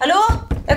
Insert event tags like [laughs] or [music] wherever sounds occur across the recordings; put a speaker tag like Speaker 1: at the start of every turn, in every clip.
Speaker 1: Hallo? Jeg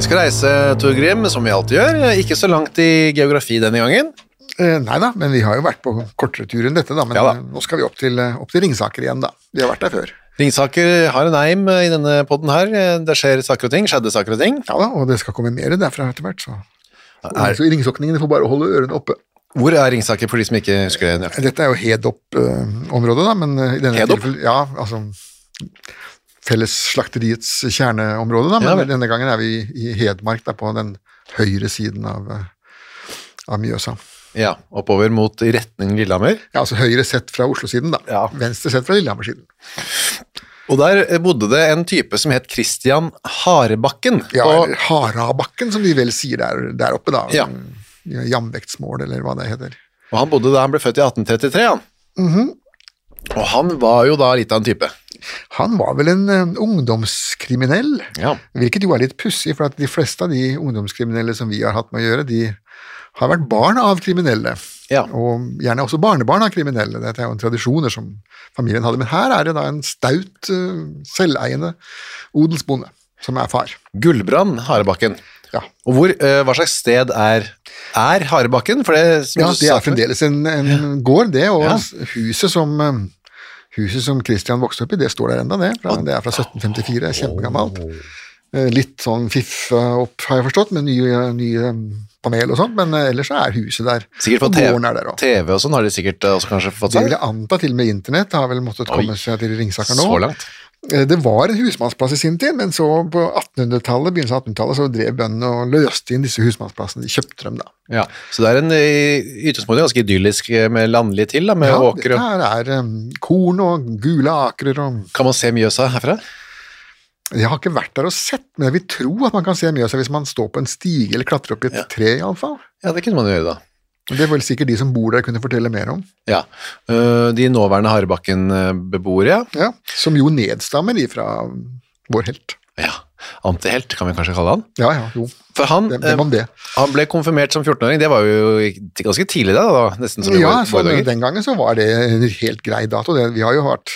Speaker 2: Vi skal reise, Tor Grim, som vi alltid gjør. Ikke så langt i geografi denne gangen.
Speaker 3: Eh, nei da, men vi har jo vært på kortere tur enn dette, da. Men
Speaker 2: Ja da.
Speaker 3: eh, nå skal vi opp til, eh, opp til Ringsaker igjen, da. Vi har vært der før.
Speaker 2: Ringsaker har en eim eh, i denne podden her. Eh, Det skjer saker og ting, skjedde saker og ting.
Speaker 3: Ja da, og det skal komme mer derfra etter hvert, så
Speaker 2: Er-
Speaker 3: Så ringsokningene får bare holde ørene oppe.
Speaker 2: Hvor er Ringsaker for de som ikke husker det? nøyaktig?
Speaker 3: Dette er jo Hedop-området, da, men eh, i denne
Speaker 2: Hedop?
Speaker 3: tilfellet Ja, altså Fellesslakteriets kjerneområde, da,
Speaker 2: Ja
Speaker 3: men
Speaker 2: vel.
Speaker 3: denne gangen er vi i Hedmark, da, på den høyre siden av, eh, av Mjøsa.
Speaker 2: Ja, oppover mot i retning Lillehammer.
Speaker 3: Ja, altså høyre sett fra Oslo-siden, da.
Speaker 2: Ja.
Speaker 3: Venstre sett fra Lillehammer-siden.
Speaker 2: Og der eh, bodde det en type som het Christian Harebakken.
Speaker 3: Ja,
Speaker 2: og,
Speaker 3: eller Harabakken, som de vel sier der, der oppe, da.
Speaker 2: Ja.
Speaker 3: Ja, Jamvektsmål, eller hva det heter.
Speaker 2: og han bodde da han ble født i 1833, han.
Speaker 3: Mhm.
Speaker 2: Og han var jo da litt av en type.
Speaker 3: Han var vel en eh, ungdomskriminell,
Speaker 2: Ja.
Speaker 3: hvilket jo er litt pussig, for at de fleste av de ungdomskriminelle som vi har hatt med å gjøre, de har vært barn av kriminelle.
Speaker 2: Ja.
Speaker 3: Og gjerne også barnebarn av kriminelle. Dette er jo en tradisjoner som familien hadde. Men her er det da en staut, eh, selveiende odelsbonde som er far.
Speaker 2: Gullbrand Harebakken.
Speaker 3: Ja.
Speaker 2: Og hvor, eh, hva slags sted er, er Harebakken? For det, som
Speaker 3: Ja,
Speaker 2: du
Speaker 3: det
Speaker 2: sa
Speaker 3: er
Speaker 2: for meg-
Speaker 3: fremdeles en, en gård, det. Og
Speaker 2: Ja.
Speaker 3: s- huset som eh, Huset som Christian vokste opp i, det står der ennå, det. Fra, det er fra 1754, det er kjempegammelt. Eh, Litt sånn fiffa opp, har jeg forstått, med nye, nye panel og sånn, men eh, ellers så er huset der.
Speaker 2: Sikkert på
Speaker 3: og
Speaker 2: TV,
Speaker 3: gården er der òg.
Speaker 2: TV og sånn har de sikkert eh, også kanskje fått
Speaker 3: Det vil
Speaker 2: seg.
Speaker 3: jeg anta til og med internett har vel måttet komme seg til Ringsaker nå.
Speaker 2: Så langt.
Speaker 3: Eh, Det var en husmannsplass i sin tid, men så på 1800-tallet, begynnelsen av 1800-tallet så drev bøndene og løste inn disse husmannsplassene. De kjøpte dem, da.
Speaker 2: Ja. Så det er en eh, i utgangspunktet ganske idyllisk eh, med landlig til, da, med
Speaker 3: Ja,
Speaker 2: åker og
Speaker 3: dette her er um, korn og gule akrer og
Speaker 2: Kan man se Mjøsa herfra?
Speaker 3: Jeg har ikke vært der og sett, men jeg vil tro at man kan se Mjøsa hvis man står på en stige eller klatrer opp i et
Speaker 2: Ja.
Speaker 3: tre, iallfall.
Speaker 2: Ja, det kunne man jo gjøre, da.
Speaker 3: Det vil sikkert de som bor der, kunne fortelle mer om.
Speaker 2: Ja. Eh, De nåværende Harebakken-beboere, ja.
Speaker 3: Ja, Som jo nedstammer ifra vår helt.
Speaker 2: ja. Antihelt, kan vi kanskje kalle han.
Speaker 3: Ja ja, jo.
Speaker 2: For han,
Speaker 3: Hvem, hvem
Speaker 2: eh,
Speaker 3: om det?
Speaker 2: han ble konfirmert som 14-åring, det var jo ikke- ganske tidlig da, da nesten som i
Speaker 3: Ja, sånn
Speaker 2: våre-
Speaker 3: så
Speaker 2: våre dager.
Speaker 3: Den gangen så var det en helt grei dato. Det, vi har jo hatt,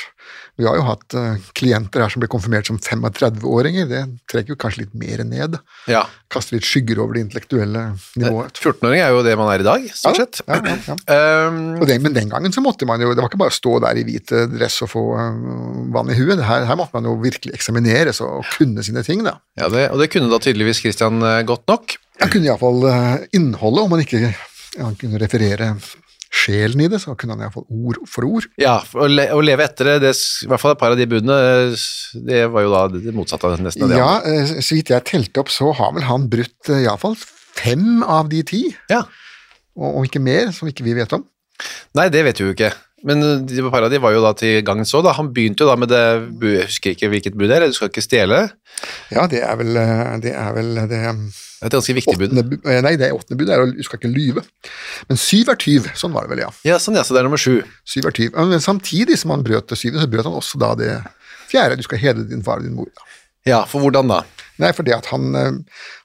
Speaker 3: vi har jo hatt eh, klienter her som ble konfirmert som 35-åringer. Det trekker jo kanskje litt mer ned.
Speaker 2: Ja.
Speaker 3: Kaster litt skygger over det intellektuelle nivået.
Speaker 2: 14-åring er jo det man er i dag, stort sett.
Speaker 3: Ja, ja, ja.
Speaker 2: Ehm,
Speaker 3: Og den- men den gangen så måtte man jo, det var ikke bare å stå der i hvit eh, dress og få eh, vann i huet, Det her, her måtte man jo virkelig eksamineres og kunne sine ting, da.
Speaker 2: ja, det, og det kunne da tydeligvis Christian eh, godt nok.
Speaker 3: Han kunne iallfall eh, innholdet, om han ikke han kunne referere sjelen i det, så kunne han iallfall ord for ord.
Speaker 2: Ja, for å, le, å leve etter det, det, s- i hvert fall et par av de budene, eh, s- det var jo da det det motsatte av nesten av det.
Speaker 3: Ja,
Speaker 2: andre.
Speaker 3: eh, så vidt jeg telte opp, så har vel han brutt eh, iallfall fem av de ti,
Speaker 2: ja.
Speaker 3: og om ikke mer, som ikke vi vet om.
Speaker 2: Nei, det vet vi jo ikke. Men eh, de på Paradis var jo da til gangen så, da. Han begynte jo da med det bu- Jeg husker ikke hvilket bud det er, du skal ikke stjele.
Speaker 3: Ja, det er vel eh, det, er vel det
Speaker 2: Det er et ganske viktig bud.
Speaker 3: åttende bud eh, Nei, det er åttende bud, det er å du skal ikke lyve. Men syv er tyv. Sånn var det vel, ja.
Speaker 2: Ja, sånn, ja, så det er nummer sju.
Speaker 3: Syv er tyv. Men samtidig som han brøt det syvende, så brøt han også da det fjerde. Du skal hedre din far og din mor. Da.
Speaker 2: Ja, for hvordan da?
Speaker 3: Nei, for det at han, eh,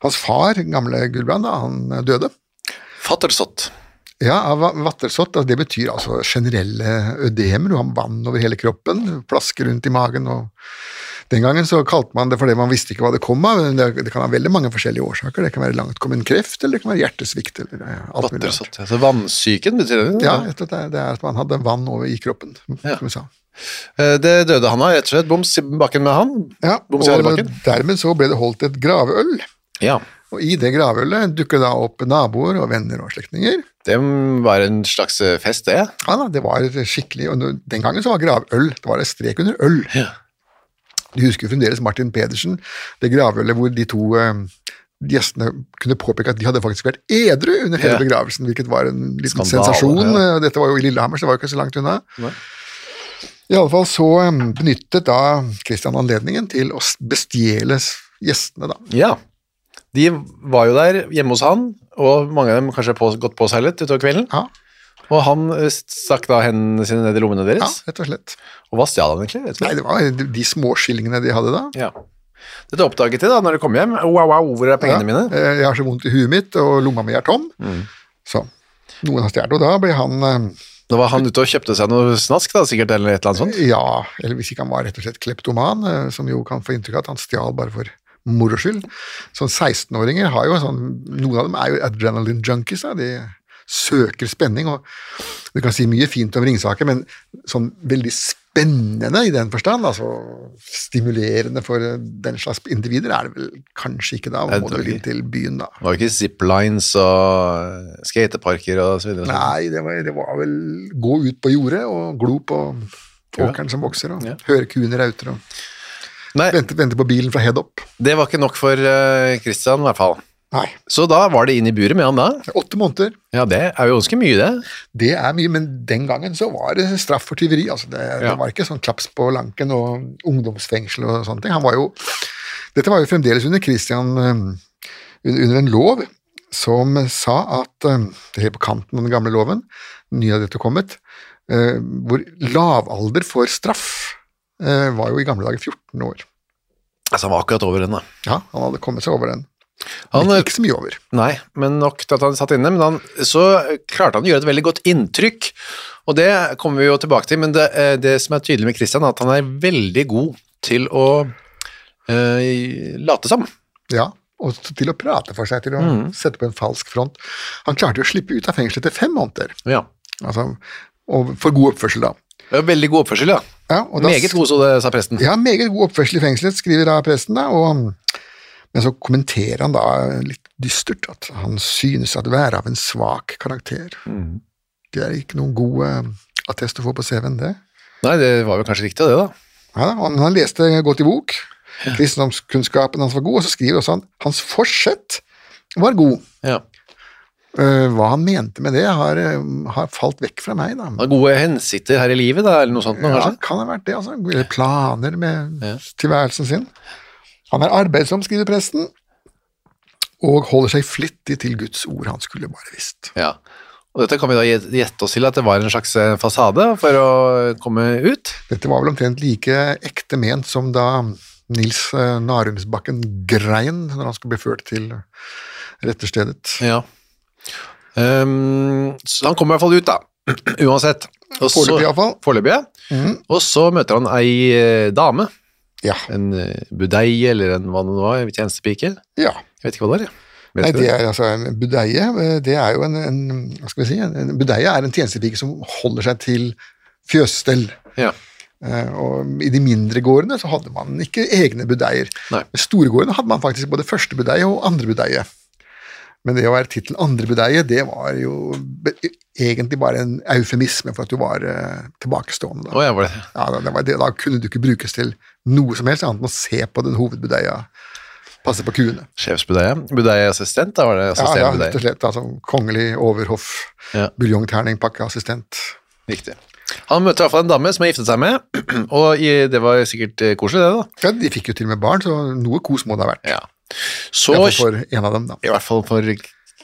Speaker 3: hans far, gamle Gulbrand, da, han eh, døde.
Speaker 2: Fattersott.
Speaker 3: Ja, av va- vattersott, altså, det betyr altså generelle ødemer, du har vann over hele kroppen, plasker rundt i magen, og den gangen så kalte man det for det man visste ikke hva det kom av, men det, det kan ha veldig mange forskjellige årsaker, det kan være langtkommen kreft, eller det kan være hjertesvikt, eller eh, alt mulig. rart.
Speaker 2: Vattersott. ja. Så vannsyken betyr det?
Speaker 3: Ja, rett og slett, det er- det er at man hadde vann over i kroppen,
Speaker 2: Ja.
Speaker 3: som vi sa.
Speaker 2: Eh, Det døde han av, rett og slett. Boms i bakken med han.
Speaker 3: Ja,
Speaker 2: Boms i
Speaker 3: og
Speaker 2: herrebakken.
Speaker 3: dermed så ble det holdt et graveøl,
Speaker 2: Ja.
Speaker 3: og i det gravølet dukker da opp naboer og venner og slektninger,
Speaker 2: Det var en slags eh, fest, det.
Speaker 3: Ja da, det var skikkelig og nå- Den gangen så var gravøl det var en strek under øl. Du husker jo fremdeles Martin Pedersen, det gravølet hvor de to eh, gjestene kunne påpeke at de hadde faktisk vært edru under hele
Speaker 2: Ja.
Speaker 3: begravelsen, hvilket var en liten
Speaker 2: Skandale,
Speaker 3: sensasjon.
Speaker 2: ja.
Speaker 3: Eh, Dette var jo i Lillehammer, så det var jo ikke så langt unna. I alle fall så eh, benyttet da Christian anledningen til å s- bestjele s- gjestene, da.
Speaker 2: Ja. De var jo der hjemme hos han, og mange av dem kanskje på, gått på seg litt utover kvelden.
Speaker 3: Ja,
Speaker 2: Og han eh, stakk da hendene sine ned i lommene
Speaker 3: ja,
Speaker 2: deres.
Speaker 3: rett og slett.
Speaker 2: Og hva stjal han egentlig? Vet du?
Speaker 3: Nei, det var de, de små skillingene de hadde da.
Speaker 2: Ja. Dette oppdaget de da når de kom hjem. Wow, wow, hvor er pengene
Speaker 3: Ja,
Speaker 2: mine?
Speaker 3: eh, Jeg har så vondt i huet mitt, og lomma mi er tom. Så noen har stjålet, og da ble han eh,
Speaker 2: Da var han ute og kjøpte seg noe snask, da, sikkert, eller et eller annet sånt.
Speaker 3: Ja, eller hvis ikke han var rett og slett kleptoman, eh, som jo kan få inntrykk av at han stjal bare for moro skyld. Sånn 16-åringer har jo en sånn Noen av dem er jo adrenaline junkies, da. De søker spenning, og du kan si mye fint om Ringsaker, men sånn veldig spennende i den forstand, altså stimulerende for eh, den slags individer, er det vel kanskje ikke da.
Speaker 2: Jeg
Speaker 3: Må
Speaker 2: tror
Speaker 3: du vel
Speaker 2: ikke.
Speaker 3: inn til byen, da.
Speaker 2: Det var jo ikke ziplines og eh, skateparker og sånn. så videre.
Speaker 3: Nei, det var, det var vel gå ut på jordet og glo på åkeren som vokser, og høre kuene rauter og
Speaker 2: Nei,
Speaker 3: vente, vente på bilen fra head up.
Speaker 2: det var ikke nok for eh, Christian, i hvert fall.
Speaker 3: Nei.
Speaker 2: Så da var det inn i buret med han da.
Speaker 3: Åtte måneder,
Speaker 2: Ja, det er jo ganske mye, det.
Speaker 3: det er mye, men den gangen så var det straff for tyveri. Altså det,
Speaker 2: Ja.
Speaker 3: det var ikke sånn klaps på lanken og ungdomsfengsel og sånne ting. Han var jo Dette var jo fremdeles under Christian eh, un- under en lov som sa at eh, Det er helt på kanten av den gamle loven, ny av dette kommet, eh, hvor lavalder for straff eh, var jo i gamle dager 14 år.
Speaker 2: Altså, han var akkurat over den, da.
Speaker 3: Ja, han hadde kommet seg over den.
Speaker 2: Han, eh,
Speaker 3: ikke, ikke så mye over.
Speaker 2: nei, men nok til at han satt inne, men han, så klarte han å gjøre et veldig godt inntrykk, og det kommer vi jo tilbake til, men det, eh, det som er tydelig med Christian, er at han er veldig god til å eh, late som.
Speaker 3: Ja, og til å prate for seg, til å
Speaker 2: Mm.
Speaker 3: sette på en falsk front. Han klarte jo å slippe ut av fengselet etter fem måneder,
Speaker 2: Ja.
Speaker 3: altså, og for god oppførsel da.
Speaker 2: Det var Veldig god oppførsel, ja.
Speaker 3: Ja, og da
Speaker 2: Meget god, så det, sa presten.
Speaker 3: Ja, meget god oppførsel i fengselet, skriver da presten da, og, men så kommenterer han da litt dystert at han synes at være av en svak karakter.
Speaker 2: Mm.
Speaker 3: Det er ikke noen god eh, attest å få på CV-en det.
Speaker 2: Nei, det var vel kanskje riktig det, da.
Speaker 3: Ja, da, han, han leste godt i bok, kristendomskunnskapen hans var god, og så skriver også han hans forsett var god.
Speaker 2: Ja.
Speaker 3: Eh, hva han mente med det, har, eh, har falt vekk fra meg. da.
Speaker 2: Han har gode hensikter her i livet, da, eller noe sånt, nå,
Speaker 3: Ja,
Speaker 2: kanskje?
Speaker 3: kan ha vært det. altså. Eller Planer med
Speaker 2: Ja.
Speaker 3: tilværelsen sin. Han er arbeidsom, skriver presten, og holder seg flittig til Guds ord. Han skulle bare visst.
Speaker 2: Ja. Og dette kan vi da gjet- gjette oss til at det var en slags eh, fasade for å komme ut.
Speaker 3: Dette var vel omtrent like ekte ment som da Nils eh, Narumsbakken grein når han skulle bli ført til retterstedet.
Speaker 2: Ja. Ehm, så han kommer i hvert fall ut, da. [clears throat] Uansett. Og så-
Speaker 3: Foreløpig, iallfall.
Speaker 2: Foreløpig, ja. Og så møter han ei eh, dame.
Speaker 3: Ja.
Speaker 2: En eh, budeie eller en hva det nå var, en tjenestepike.
Speaker 3: ja.
Speaker 2: Jeg vet ikke hva det er. jeg. Vet
Speaker 3: Nei,
Speaker 2: du
Speaker 3: det er altså en budeie. eh, Det er jo en, en hva skal vi si, en, en budeie er en tjenestepike som holder seg til fjøsstell.
Speaker 2: Ja.
Speaker 3: Eh, Og I de mindre gårdene så hadde man ikke egne budeier.
Speaker 2: Nei.
Speaker 3: I storegårdene hadde man faktisk både første budeie og andre budeie. Men det å være tittelen andre budeie, det var jo be- egentlig bare en eufemisme for at du var eh, tilbakestående. Da.
Speaker 2: Å, ja, var det.
Speaker 3: Ja, da, det var det. da kunne du ikke brukes til noe som helst annet enn å se på den hovedbudeia, passe på kuene.
Speaker 2: Sjefsbudeie. Budeieassistent, da var det?
Speaker 3: Ja, ja,
Speaker 2: assisterende
Speaker 3: rett og slett. Altså, kongelig overhoff,
Speaker 2: Ja.
Speaker 3: buljongterningpakkeassistent.
Speaker 2: budeie. Riktig. Han møtte i hvert fall en dame som har giftet seg med, [clears throat] og i, det var sikkert eh, koselig det da.
Speaker 3: Ja, de fikk jo til og med barn, så noe kos må det ha vært.
Speaker 2: Ja.
Speaker 3: I
Speaker 2: Så,
Speaker 3: hvert fall for en av dem, da.
Speaker 2: i hvert fall for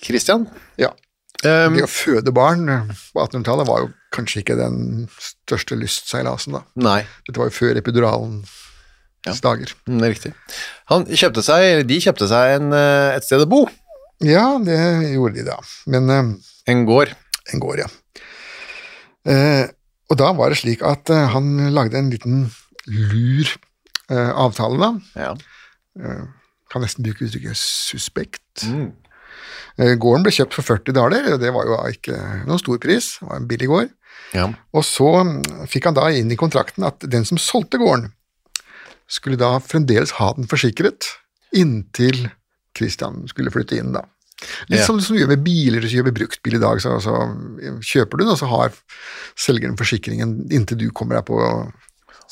Speaker 2: Christian.
Speaker 3: Ja.
Speaker 2: Um,
Speaker 3: Det å føde barn på 1800-tallet var jo kanskje ikke den største lystseilasen, da.
Speaker 2: nei,
Speaker 3: Dette var jo før epiduralens dager.
Speaker 2: mm, det er riktig. Han kjøpte seg, eller de kjøpte seg en, eh, et sted å bo,
Speaker 3: Ja, det gjorde de da. Men eh,
Speaker 2: en gård.
Speaker 3: en gård, ja. Eh, og da var det slik at eh, han lagde en liten lur eh, avtale, da.
Speaker 2: Ja.
Speaker 3: Kan nesten bruke uttrykket suspekt. Eh, gården ble kjøpt for 40 daler, og det var jo ikke noen stor pris. Det var en billig gård.
Speaker 2: Ja.
Speaker 3: Og så mm, fikk han da inn i kontrakten at den som solgte gården, skulle da fremdeles ha den forsikret inntil Christian skulle flytte inn, da. Litt
Speaker 2: Ja.
Speaker 3: som som du gjør med biler, hvis du kjøper bruktbil i dag, så, så mm, kjøper du den, og så har selgeren forsikringen inntil du kommer deg på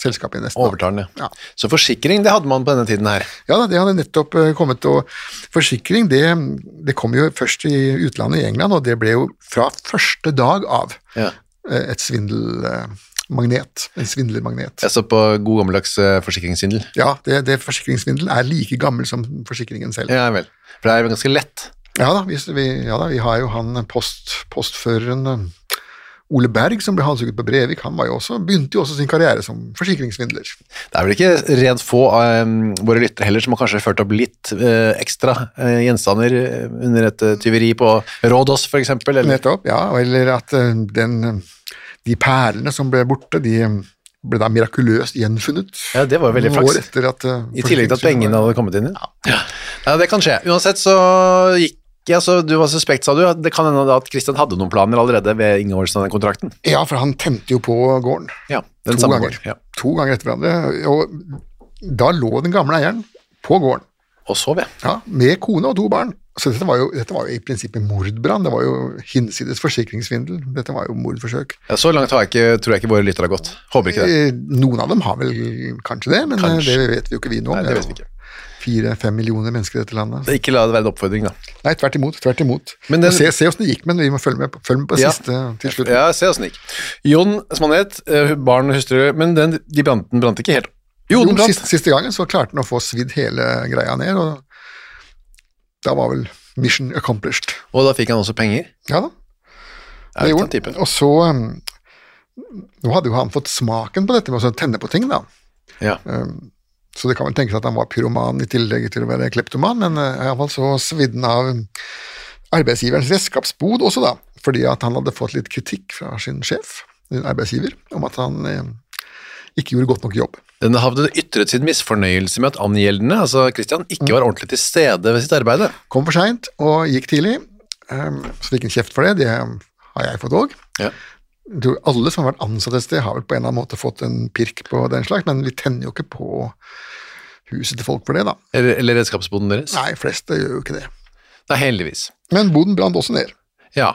Speaker 3: selskapet i nesten. da.
Speaker 2: Overtalende.
Speaker 3: Ja.
Speaker 2: Så forsikring, det hadde man på denne tiden her.
Speaker 3: Ja da, det hadde nettopp eh, kommet, og forsikring det, det kom jo først i utlandet, i England, og det ble jo fra første dag av
Speaker 2: Ja.
Speaker 3: eh, et svindelmagnet. En svindlermagnet.
Speaker 2: Jeg så på god gammeldags eh, forsikringssvindel.
Speaker 3: Ja, det, det forsikringssvindel er like gammel som forsikringen selv.
Speaker 2: Ja vel. For det er jo ganske lett.
Speaker 3: Ja da, vi, vi, ja da, vi har jo han post, postføreren eh, Ole Berg som ble halshugget på Brevik, han var jo også, begynte jo også sin karriere som forsikringssvindler.
Speaker 2: Det er vel ikke rent få av um, våre lyttere heller som har kanskje ført opp litt eh, ekstra eh, gjenstander eh, under et eh, tyveri på Rådås for eksempel, eller
Speaker 3: Nettopp, ja, eller at eh, den, de perlene som ble borte, de eh, ble da mirakuløst gjenfunnet.
Speaker 2: Ja, det var jo veldig
Speaker 3: Noen
Speaker 2: flaks.
Speaker 3: År etter at, eh,
Speaker 2: i tillegg til at pengene hadde kommet inn. Ja. Ja. det kan skje. Uansett så gikk ja, så du var suspekt, sa du. Det kan hende da at Christian hadde noen planer allerede ved inngåelsen av den kontrakten.
Speaker 3: Ja, for han tente jo på gården.
Speaker 2: Ja, den
Speaker 3: to
Speaker 2: samme
Speaker 3: ganger.
Speaker 2: gården, Ja.
Speaker 3: To ganger etter hverandre. Og da lå den gamle eieren på gården,
Speaker 2: Og sov, jeg.
Speaker 3: ja, med kone og to barn. Så dette var jo, dette var jo i prinsippet mordbrann. Det var jo hinsides forsikringssvindel. Dette var jo mordforsøk.
Speaker 2: Ja, så langt har jeg ikke, tror jeg ikke våre lyttere har gått. Håper ikke det.
Speaker 3: Eh, Noen av dem har vel kanskje det, men eh,
Speaker 2: Kanskje.
Speaker 3: det vet vi jo ikke vi nå.
Speaker 2: Nei, det
Speaker 3: er
Speaker 2: vet vi
Speaker 3: jo Fire-fem millioner mennesker i dette landet.
Speaker 2: Ikke la det være en oppfordring, da.
Speaker 3: Nei, tvert imot. tvert imot.
Speaker 2: Men den-
Speaker 3: Og se, se hvordan det gikk, men vi må følge med på, følge med på
Speaker 2: Ja.
Speaker 3: siste til slutt.
Speaker 2: Ja, se åssen det gikk. Jon, som han het, eh, barn og hustru, men den, de brant, den brant ikke helt. Jo,
Speaker 3: Jo,
Speaker 2: den brant.
Speaker 3: siste, siste gangen så klarte han å få svidd hele greia ned, og da var vel mission accomplished.
Speaker 2: Og da fikk han også penger.
Speaker 3: Ja da.
Speaker 2: Er
Speaker 3: det
Speaker 2: ikke
Speaker 3: gjorde
Speaker 2: den typen.
Speaker 3: han. Og så um, Nå hadde jo han fått smaken på dette med å så tenne på ting, da.
Speaker 2: Ja.
Speaker 3: Så det kan vel tenkes at han var pyroman i tillegg til å være kleptoman, men eh, i alle fall så svidde han av arbeidsgiverens redskapsbod også, da, fordi at han hadde fått litt kritikk fra sin sjef, sin arbeidsgiver, om at han eh, ikke gjorde godt nok jobb.
Speaker 2: Den havnet ytret sin misfornøyelse med at angjeldende, altså Christian, ikke var ordentlig til stede ved sitt arbeid.
Speaker 3: Kom for seint og gikk tidlig, um, så fikk han kjeft for det, det har jeg fått òg.
Speaker 2: Ja.
Speaker 3: Jeg tror alle som har vært ansatt et sted, har vel på en eller annen måte fått en pirk på den slags, men vi tenner jo ikke på huset til folk for det, da.
Speaker 2: Eller, eller redskapsboden deres.
Speaker 3: Nei, fleste gjør jo ikke det.
Speaker 2: Nei, heldigvis.
Speaker 3: Men boden brant også ned.
Speaker 2: Ja,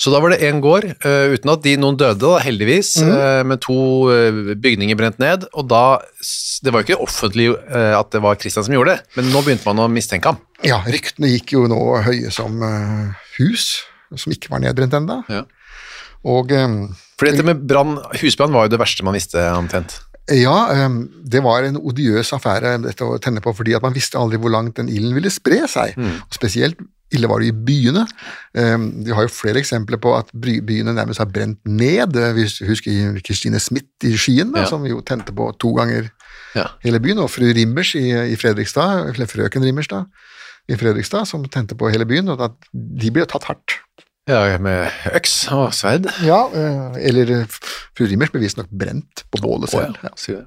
Speaker 2: så da var det en gård, eh, uten at de noen døde da, heldigvis, eh, med to eh, bygninger brent ned, og da, s- det var jo ikke offentlig eh, at det var Christian som gjorde det, men nå begynte man å mistenke ham.
Speaker 3: Ja, ryktene gikk jo nå høye som eh, hus, som ikke var nedbrent enda.
Speaker 2: Ja.
Speaker 3: Og eh,
Speaker 2: For dette med brann, husbrann var jo det verste man visste omtrent.
Speaker 3: ja, eh, det var en odiøs affære dette å tenne på, fordi at man visste aldri hvor langt den ilden ville spre seg.
Speaker 2: Mm.
Speaker 3: Og spesielt ille var det i byene. Eh, vi har jo flere eksempler på at bry- byene nærmest har brent ned. Eh, Vi husker Kristine Smith i Skien, da,
Speaker 2: Ja.
Speaker 3: som jo tente på to ganger
Speaker 2: Ja.
Speaker 3: hele byen, og fru Rimmers i, i Fredrikstad, eller frøken Rimmers da, i Fredrikstad, som tente på hele byen, og at de ble tatt hardt.
Speaker 2: Ja, med øks og sverd.
Speaker 3: Ja, eh, eller eh, fru Rimmers ble visstnok brent på
Speaker 2: Å,
Speaker 3: bålet selv.
Speaker 2: ja. sier det.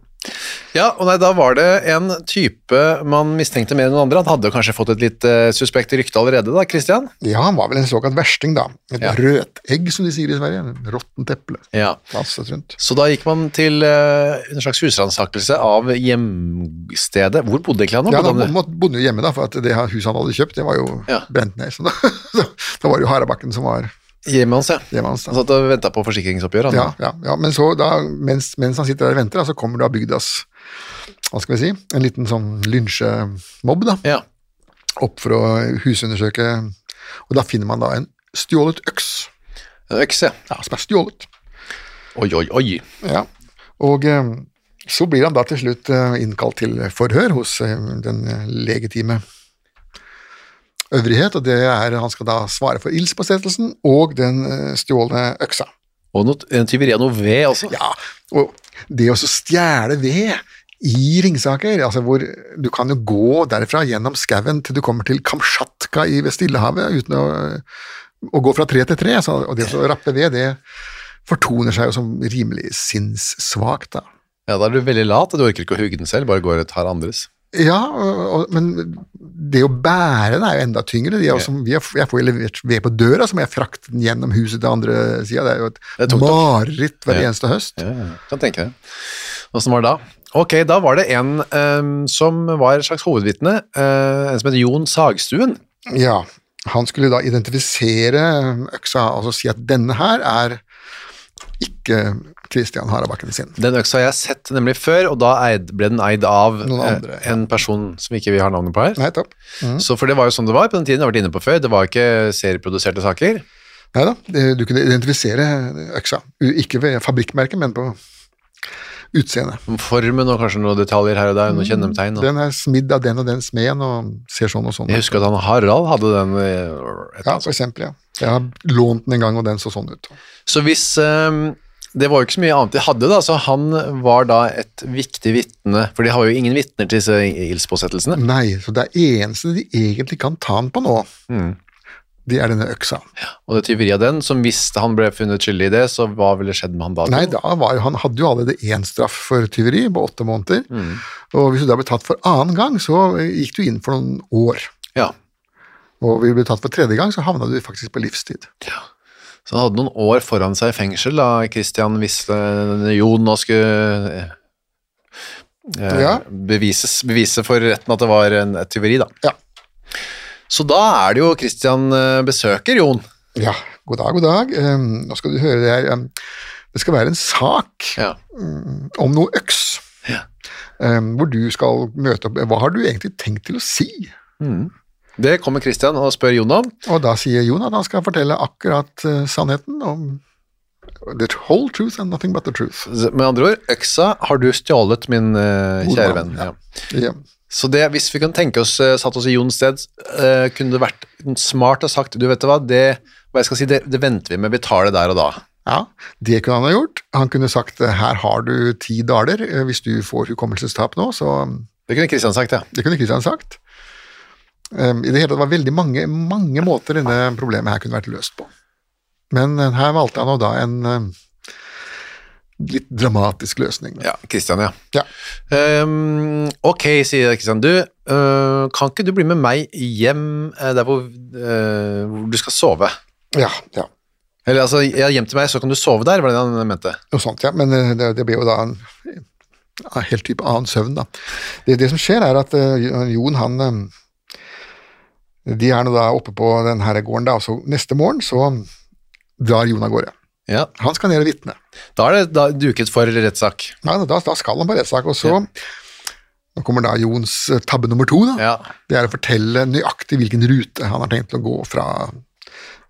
Speaker 2: Ja, og nei, da var det en type man mistenkte mer enn noen andre. Han hadde jo kanskje fått et litt eh, suspekt rykte allerede da, Christian?
Speaker 3: Ja. han var vel en såkalt versting, da. Et
Speaker 2: Ja.
Speaker 3: rødegg, som de sier i Sverige. En råttent eple.
Speaker 2: Ja.
Speaker 3: Vasset rundt.
Speaker 2: Så da gikk man til eh, en slags husransakelse av hjemstedet. Hvor bodde egentlig han? nå?
Speaker 3: Ja, da
Speaker 2: Bodde han-
Speaker 3: må- bodde han jo hjemme, da, for at det her huset han hadde kjøpt, det var jo
Speaker 2: Ja.
Speaker 3: brent ned. Så da, [laughs] så da var det jo Harabakken som var
Speaker 2: Hjemmet hans, ja.
Speaker 3: hjemmet hans.
Speaker 2: Han
Speaker 3: Da.
Speaker 2: satt og venta på forsikringsoppgjør. Han.
Speaker 3: Ja, ja, ja, men så da, mens, mens han sitter der og venter, da, så kommer da bygdas hva skal vi si, en liten sånn lynsjemobb da,
Speaker 2: Ja.
Speaker 3: opp for å husundersøke, og da finner man da en stjålet øks,
Speaker 2: En øks, ja.
Speaker 3: ja, som er stjålet.
Speaker 2: Oi, oi, oi.
Speaker 3: Ja. Og eh, så blir han da til slutt eh, innkalt til forhør hos eh, den legitime øvrighet, og det er han skal da svare for ildspåsettelsen og den eh, stjålne øksa.
Speaker 2: Og noe, en tyveri av noe ved også.
Speaker 3: Ja, og det å så stjele ved i Ringsaker, altså hvor du kan jo gå derfra gjennom skauen til du kommer til Kamtsjatka i ved Stillehavet uten å, å gå fra tre til tre, så, og det å så rappe ved, det fortoner seg jo som rimelig sinnssvakt, da.
Speaker 2: Ja, da er du veldig lat, du orker ikke å hugge den selv, bare går og tar andres.
Speaker 3: Ja, og, og, men det å bære den er jo enda tyngre. De er jo som- vi har- jeg får jo levert ved på døra, så må jeg frakte den gjennom huset til andre sida. Det er jo
Speaker 2: Det
Speaker 3: et
Speaker 2: er tungt, da.
Speaker 3: mareritt hver
Speaker 2: Ja.
Speaker 3: eneste høst.
Speaker 2: Ja, ja, kan tenke det. Åssen var det da? Ok, da var det en eh, som var en slags hovedvitne, eh, en som heter Jon Sagstuen.
Speaker 3: Ja, han skulle da identifisere øksa, altså si at denne her er ikke Kristian Harabakken sin.
Speaker 2: Den øksa har jeg sett nemlig før, og da eid, ble den eid av
Speaker 3: Noen
Speaker 2: eh,
Speaker 3: andre, ja.
Speaker 2: en person som ikke vi har navnet på her.
Speaker 3: Nei, topp.
Speaker 2: Så for det var jo sånn det var på den tiden jeg har vært inne på før, det var ikke serieproduserte saker.
Speaker 3: Nei da, det- du kunne identifisere øksa. U- Ikke ved fabrikkmerket, men på utseendet.
Speaker 2: Formen og kanskje noen detaljer her og der, noen kjennetegn. Og.
Speaker 3: Mm. Den er smidd av den og den smeden og ser sånn og sånn ut.
Speaker 2: Jeg husker at han Harald hadde den. eh, Et eller
Speaker 3: Ja,
Speaker 2: annet
Speaker 3: for eksempel, ja. Jeg har lånt den en gang, og den så sånn ut.
Speaker 2: Så hvis eh, Det var jo ikke så mye annet de hadde, da, så han var da et viktig vitne. For de har jo ingen vitner til disse ildspåsettelsene.
Speaker 3: Nei, så det er eneste de egentlig kan ta den på nå, det er denne øksa.
Speaker 2: Og det tyveriet av den, som hvis han ble funnet skyldig i det, så hva ville skjedd med han da?
Speaker 3: Nei, da var jo, han hadde jo allerede én straff for tyveri på åtte måneder, og hvis du da ble tatt for annen gang, så eh, gikk du inn for noen år.
Speaker 2: Ja.
Speaker 3: Og hvis du ble tatt for tredje gang, så havna du faktisk på livstid.
Speaker 2: Så han hadde noen år foran seg i fengsel da Kristian visste Jon nå skulle eh, eh,
Speaker 3: Ja.
Speaker 2: bevises, bevise for retten at det var en, et tyveri, da.
Speaker 3: Ja.
Speaker 2: Så da er det jo Kristian besøker Jon.
Speaker 3: Ja, god dag, god dag. Eh, nå skal du høre det her. eh, det skal være en sak
Speaker 2: Ja.
Speaker 3: om noe øks. Eh, hvor du skal møte opp Hva har du egentlig tenkt til å si?
Speaker 2: Det kommer Kristian og spør Jon om.
Speaker 3: Og da sier Jon at han skal fortelle akkurat eh, sannheten om the whole truth and nothing but the truth.
Speaker 2: Med andre ord, øksa har du stjålet, min eh,
Speaker 3: God
Speaker 2: kjære
Speaker 3: mann,
Speaker 2: venn.
Speaker 3: ja.
Speaker 2: Ja.
Speaker 3: Ja.
Speaker 2: Så det, hvis vi kan tenke oss, eh, satt oss i Jons sted, eh, kunne det vært smart og sagt, du vet hva, det, hva jeg skal si, det, det venter vi med, vi tar det der og da.
Speaker 3: ja, det kunne han ha gjort. Han kunne sagt eh, her har du ti daler, eh, hvis du får hukommelsestap nå, så um,
Speaker 2: Det kunne Kristian sagt, ja.
Speaker 3: Det kunne Kristian sagt. Um, I det hele tatt var det veldig mange, mange måter denne problemet her kunne vært løst på. Men eh, her valgte han jo da en eh, litt dramatisk løsning.
Speaker 2: Ja, Kristian, ja.
Speaker 3: Ja.
Speaker 2: Ehm, ok, sier Kristian. Du, øh, kan ikke du bli med meg hjem eh, der hvor, eh, hvor du skal sove?
Speaker 3: Ja, ja.
Speaker 2: Eller altså, ja, hjem til meg, så kan du sove der, var det han mente.
Speaker 3: Noe sånt, ja. Men eh, det, det blir jo da en, en helt type annen søvn, da. Det, det som skjer, er at eh, Jon, han eh, De er nå da oppe på den her gården, da, og så neste morgen så drar Jon av gårde.
Speaker 2: Ja,
Speaker 3: Han skal ned og vitne.
Speaker 2: Da er det da, duket for rettssak.
Speaker 3: Nei, da, da skal han på rettssak, og så Nå kommer da Jons eh, tabbe nummer to, da.
Speaker 2: Ja.
Speaker 3: Det er å fortelle nøyaktig hvilken rute han har tenkt å gå fra,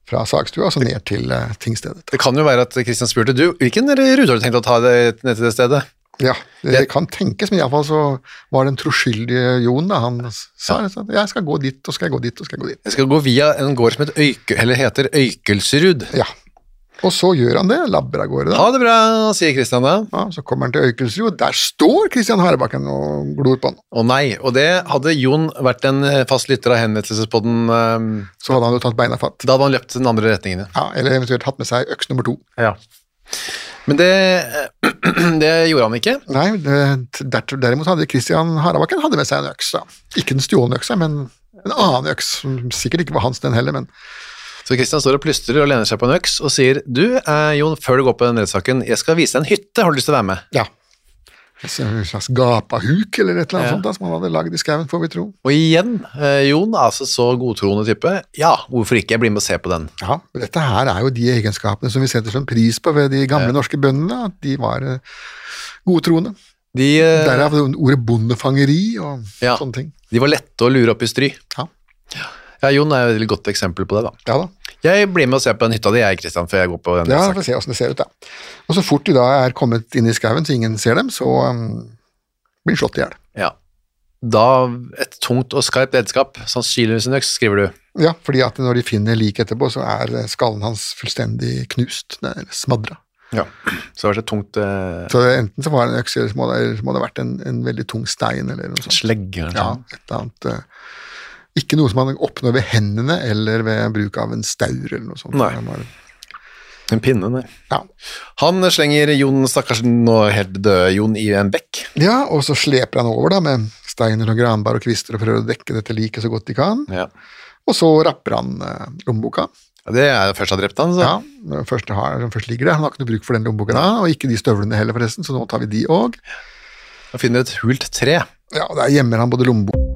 Speaker 3: fra sakstua og så ned til eh, tingstedet.
Speaker 2: Det kan jo være at Kristian spurte du, hvilken eh, rute har du tenkt å ta det, ned til det stedet?
Speaker 3: Ja, det, det kan tenkes, men iallfall så var den troskyldige Jon, da, han sa ja. jeg skal gå dit, og skal jeg gå dit, og skal jeg gå dit.
Speaker 2: Jeg skal gå via en gård som heter, Øyke, eller heter Øykelsrud.
Speaker 3: Ja. Og så gjør han det, labber av gårde, da.
Speaker 2: Ha det bra, sier Kristian da.
Speaker 3: Ja, så kommer han til Øykelsrud, der står Kristian Harebakken og glor på han.
Speaker 2: Å nei, og det hadde Jon vært en eh, fast lytter av henvendelsespodden, eh,
Speaker 3: Så hadde han jo tatt beina fatt.
Speaker 2: da hadde han løpt den andre retningen. ja.
Speaker 3: Ja, eller eventuelt hatt med seg øks nummer to.
Speaker 2: Men det, [clears throat] det gjorde han ikke.
Speaker 3: Nei, det, der, derimot hadde Kristian Harabakken hadde med seg en øks. Da. Ikke den stjålne øksa, men en annen øks, som sikkert ikke var hans den heller, men
Speaker 2: Så Kristian står og plystrer og lener seg på en øks og sier Du, eh, Jon, før du går på den rettssaken, jeg skal vise deg en hytte, har du lyst til å være med?
Speaker 3: ja. En slags gapahuk eller et eller annet
Speaker 2: Ja.
Speaker 3: sånt da, som han hadde lagd i skauen, får vi tro.
Speaker 2: Og igjen, eh, Jon, altså så godtroende type, ja, hvorfor ikke, jeg blir med og ser på den.
Speaker 3: Ja, men Dette her er jo de egenskapene som vi setter som pris på ved de gamle norske bøndene, at de var eh, godtroende.
Speaker 2: De, eh,
Speaker 3: Derav ordet bondefangeri og
Speaker 2: Ja.
Speaker 3: sånne ting.
Speaker 2: de var lette å lure opp i stry.
Speaker 3: Ja.
Speaker 2: Ja, Jon er et veldig godt eksempel på det, da.
Speaker 3: Ja da.
Speaker 2: Jeg blir med og ser på den hytta di, jeg, Kristian, før jeg går på den.
Speaker 3: Ja,
Speaker 2: saken.
Speaker 3: får se åssen det ser ut, da. Og så fort de da er kommet inn i skauen så ingen ser dem, så um, blir de slått i hjel.
Speaker 2: Ja. Da et tungt og skarpt redskap, sannsynligvis en øks, skriver du.
Speaker 3: Ja, fordi at når de finner liket etterpå, så er eh, skallen hans fullstendig knust, nei, eller smadra.
Speaker 2: Ja. Så det var så tungt eh,
Speaker 3: Så det, enten så var det en øks, eller så må det, eller så må det ha vært en, en veldig tung stein, eller noe sånt.
Speaker 2: slegge. eller
Speaker 3: Ja,
Speaker 2: noe sånt.
Speaker 3: et eller annet. eh, Ikke noe som man oppnår ved hendene, eller ved bruk av en staur, eller noe sånt.
Speaker 2: Nei.
Speaker 3: Det var-
Speaker 2: En pinne, nei.
Speaker 3: Ja.
Speaker 2: Han slenger Jon, stakkars nå helt døde Jon, i en bekk.
Speaker 3: ja, og så sleper han over da, med steiner og granbar og kvister og prøver å dekke dette liket så godt de kan.
Speaker 2: Ja.
Speaker 3: Og så rapper han eh, lommeboka.
Speaker 2: Det er først har drept han, så.
Speaker 3: Ja, når han først, har, når han først ligger der. Han har ikke noe bruk for den lommeboka da, og ikke de støvlene heller, forresten, så nå tar vi de òg.
Speaker 2: Han finner et hult tre.
Speaker 3: Ja, og der gjemmer han både lommeboka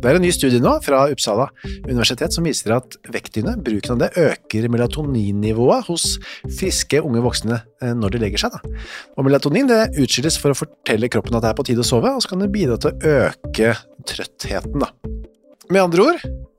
Speaker 2: Det er en ny studie nå fra Uppsala universitet som viser at vektdyne, bruken av det, øker melatoninnivået hos friske unge voksne eh, når de legger seg. Da. Og melatonin det utskilles for å fortelle kroppen at det er på tide å sove, og så kan det bidra til å øke trøttheten. Da. Med andre ord,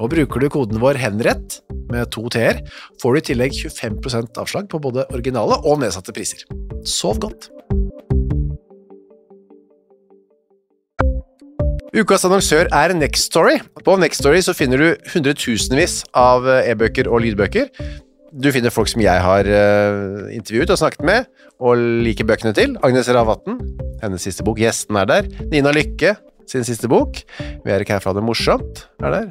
Speaker 2: Og bruker du koden vår henrett med to t-er, får du i tillegg 25 avslag på både originale og nedsatte priser. Sov godt! Ukas annonsør er Nextory. På Nextory så finner du hundretusenvis av eh, e-bøker og lydbøker. Du finner folk som jeg har eh, intervjuet og snakket med, og liker bøkene til. Agnes Ravatn, hennes siste bok. Gjesten er der. Nina Lykke, sin siste bok. Vi er ikke her for å ha det morsomt. er der.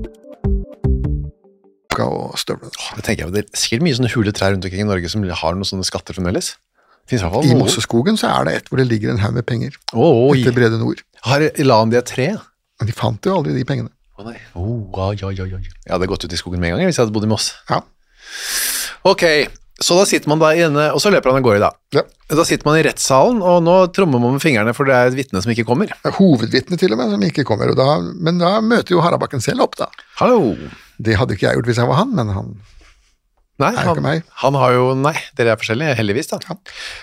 Speaker 3: og støvlene.
Speaker 2: Det tenker jeg, det er sikkert mye sånne hule trær rundt omkring i Norge som har noen sånne skatter fremdeles. Det finnes i hvert fall
Speaker 3: I
Speaker 2: noen.
Speaker 3: Mosseskogen så er det et hvor det ligger en haug med penger.
Speaker 2: Å,
Speaker 3: Etter
Speaker 2: oi.
Speaker 3: Brede Nord.
Speaker 2: Har Ilan de et tre?
Speaker 3: Men de fant jo aldri de pengene.
Speaker 2: Å nei. Oh, oi, oi, oi, oi. Jeg hadde gått ut i skogen med en gang hvis jeg hadde bodd i Moss.
Speaker 3: Ja.
Speaker 2: Ok, så da sitter man da i denne, og så løper han av gårde da.
Speaker 3: ja.
Speaker 2: Da sitter man i rettssalen, og nå trommer man med fingrene, for det er et vitne som ikke kommer.
Speaker 3: Hovedvitne til og med, som ikke kommer. Og da, men da møter jo Harabakken selv opp, da.
Speaker 2: Hallo!
Speaker 3: Det hadde ikke jeg gjort hvis jeg var han, men han
Speaker 2: Nei,
Speaker 3: er jo ikke
Speaker 2: han,
Speaker 3: meg.
Speaker 2: han har jo Nei, dere er forskjellige, heldigvis. da.
Speaker 3: Ja.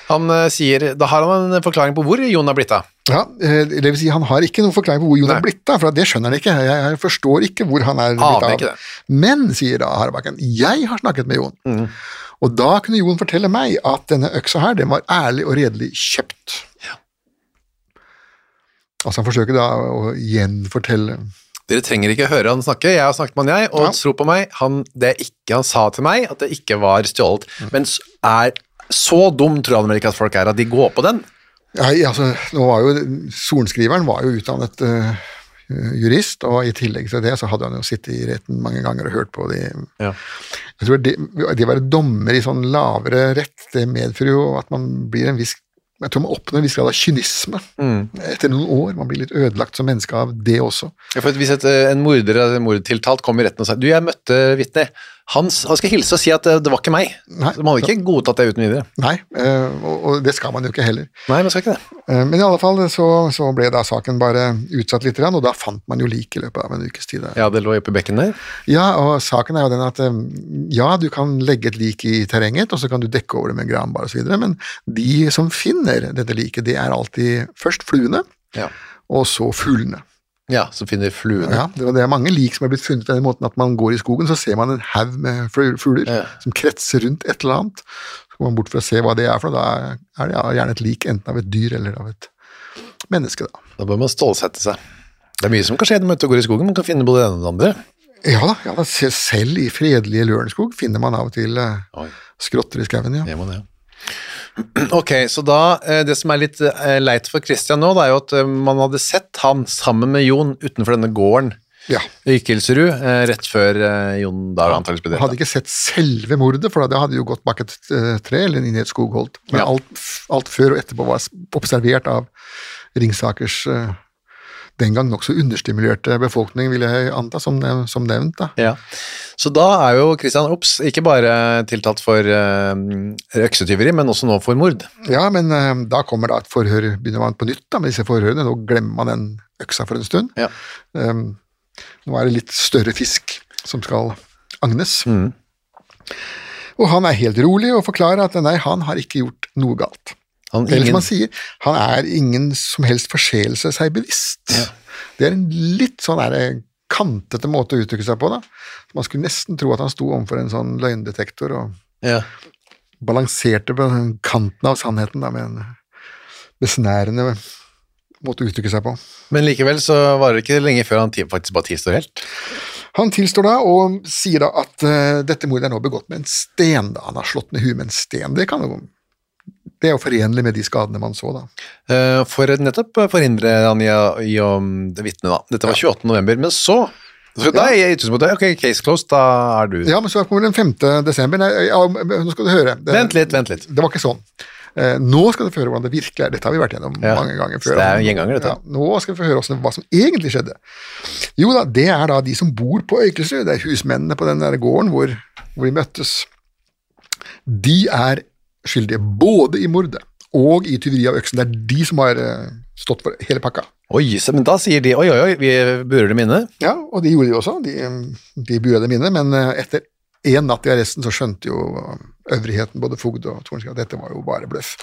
Speaker 2: Han eh, sier, Da har han en forklaring på hvor Jon har blitt av.
Speaker 3: Ja, eh, det vil si, han har ikke noen forklaring på hvor Jon
Speaker 2: Nei.
Speaker 3: er blitt av, for det skjønner han ikke. Jeg, jeg forstår ikke hvor han er
Speaker 2: Aner
Speaker 3: blitt
Speaker 2: ikke det. Mm.
Speaker 3: av. Men, sier da Harabakken, jeg har snakket med Jon. Og da kunne Jon fortelle meg at denne øksa her, den var ærlig og redelig kjøpt. Altså, han forsøker da å gjenfortelle
Speaker 2: Dere trenger ikke høre han snakke, jeg har snakket med han, jeg, og
Speaker 3: Ja.
Speaker 2: tro på meg, han, det er ikke han sa til meg, at det ikke var stjålet.
Speaker 3: Mm.
Speaker 2: Men s- er så dum tror han vel ikke at folk er, at de går på den.
Speaker 3: Nei, altså, nå var jo Sorenskriveren var jo utdannet eh, eh, jurist, og i tillegg til det så hadde han jo sittet i retten mange ganger og hørt på de
Speaker 2: Ja.
Speaker 3: Jeg tror det, det å være dommer i sånn lavere rett, det medfører jo at man blir en viss jeg tror man oppnår en viss grad av kynisme etter noen år. Man blir litt ødelagt som menneske av det også.
Speaker 2: Ja, for hvis et, eh, en morder eller en mordtiltalt kom i retten og sa du, jeg møtte vitne, han, s- han skal hilse og si at eh, det var ikke meg.
Speaker 3: Nei.
Speaker 2: Så man har jo ikke godtatt det uten videre.
Speaker 3: Nei, eh, og, og det skal man jo ikke heller.
Speaker 2: Nei, man skal ikke det.
Speaker 3: Eh, Men i alle fall så, så ble da saken bare utsatt litt, og da fant man jo lik i løpet av en ukes tid.
Speaker 2: Ja, det lå oppe i bekken der.
Speaker 3: Ja, og saken er jo den at eh, ja, du kan legge et lik i terrenget, og så kan du dekke over det med en granbar osv., men de som finner dette liket, det er alltid først fluene,
Speaker 2: Ja.
Speaker 3: og så fuglene.
Speaker 2: Ja, så finner fluene.
Speaker 3: Ja, det var- det er mange lik som er blitt funnet på den måten at man går i skogen, så ser man en haug med flu- fugler
Speaker 2: Ja.
Speaker 3: som kretser rundt et eller annet. Så går man bort for å se hva det er, for da er det ja, gjerne et lik enten av et dyr eller av et menneske, da.
Speaker 2: Da bør man stålsette seg. Det er mye som kan skje når man er ute og går i skogen, man kan finne både det ene og det andre.
Speaker 3: Ja da, ja da, se- selv i fredelige Lørenskog finner man av og til eh,
Speaker 2: Oi.
Speaker 3: skrotter i skauen, ja.
Speaker 2: Det må det. Ok, så da, eh, det som er litt eh, leit for Christian nå, det er jo at eh, man hadde sett han sammen med Jon utenfor denne gården
Speaker 3: ja.
Speaker 2: i Kilserud, eh, rett før eh, Jon da antageligvis ble
Speaker 3: Man hadde
Speaker 2: drept. da.
Speaker 3: ikke sett selve mordet, for det hadde jo gått bak et eh, tre eller inn i et skogholt. Men
Speaker 2: Ja.
Speaker 3: alt, alt før og etterpå var s- observert av Ringsakers eh, den gang nokså understimulerte befolkning, vil jeg anta, som, nev- som nevnt. da.
Speaker 2: Ja. Så da er jo Christian Ops ikke bare tiltalt for eh, øksetyveri, men også nå for mord.
Speaker 3: Ja, men eh, da kommer da et forhør, begynner man på nytt da, med disse forhørene. Nå glemmer man den øksa for en stund.
Speaker 2: Ja.
Speaker 3: Ehm, nå er det litt større fisk som skal agnes. Og han er helt rolig og forklarer at nei, han har ikke gjort noe galt.
Speaker 2: Han,
Speaker 3: Eller
Speaker 2: ingen,
Speaker 3: som liksom han sier, han er ingen som helst forseelse seg bevisst. Det er en litt sånn der kantete måte å uttrykke seg på, da. Man skulle nesten tro at han sto overfor en sånn løgndetektor og
Speaker 2: ja.
Speaker 3: balanserte på den kanten av sannheten da, med en besnærende måte å uttrykke seg på.
Speaker 2: Men likevel så var det ikke lenge før han ti- faktisk bare tilstår helt.
Speaker 3: Han tilstår da og sier da at eh, dette mordet er nå begått med en sten. da. Han har slått ned huet med en sten. Det, kan jo, det er jo forenlig med de skadene man så, da.
Speaker 2: Eh, For å nettopp forhindre han i, å- i å mm, vitne, da. Dette var 28. november, men så så da er jeg utgangspunktet, ok, case closed, da er du
Speaker 3: Ja, men så kommer den 5. desember. Nei, ja, nå skal du høre. Det,
Speaker 2: Vent litt, vent litt.
Speaker 3: Det var ikke sånn. Eh, nå skal du få høre hvordan det virkelig er. Dette har vi vært gjennom
Speaker 2: Ja.
Speaker 3: mange ganger
Speaker 2: Så
Speaker 3: før.
Speaker 2: det er en gjenganger, dette.
Speaker 3: Ja, nå skal vi få høre hvordan, hva som egentlig skjedde. Jo da, det er da de som bor på Øykelsrud. Det er husmennene på den der gården hvor, hvor de møttes. De er skyldige både i mordet og i tyveri av øksen. Det er de som har eh, stått for hele pakka.
Speaker 2: Oi, så, men da sier de oi, oi, oi, vi burer dem inne.
Speaker 3: Ja, og det gjorde de også. De, eh, de bura dem inne, men eh, etter én natt i arresten så skjønte jo eh, øvrigheten, både fogd og Tornskog, at dette var jo bare bløff.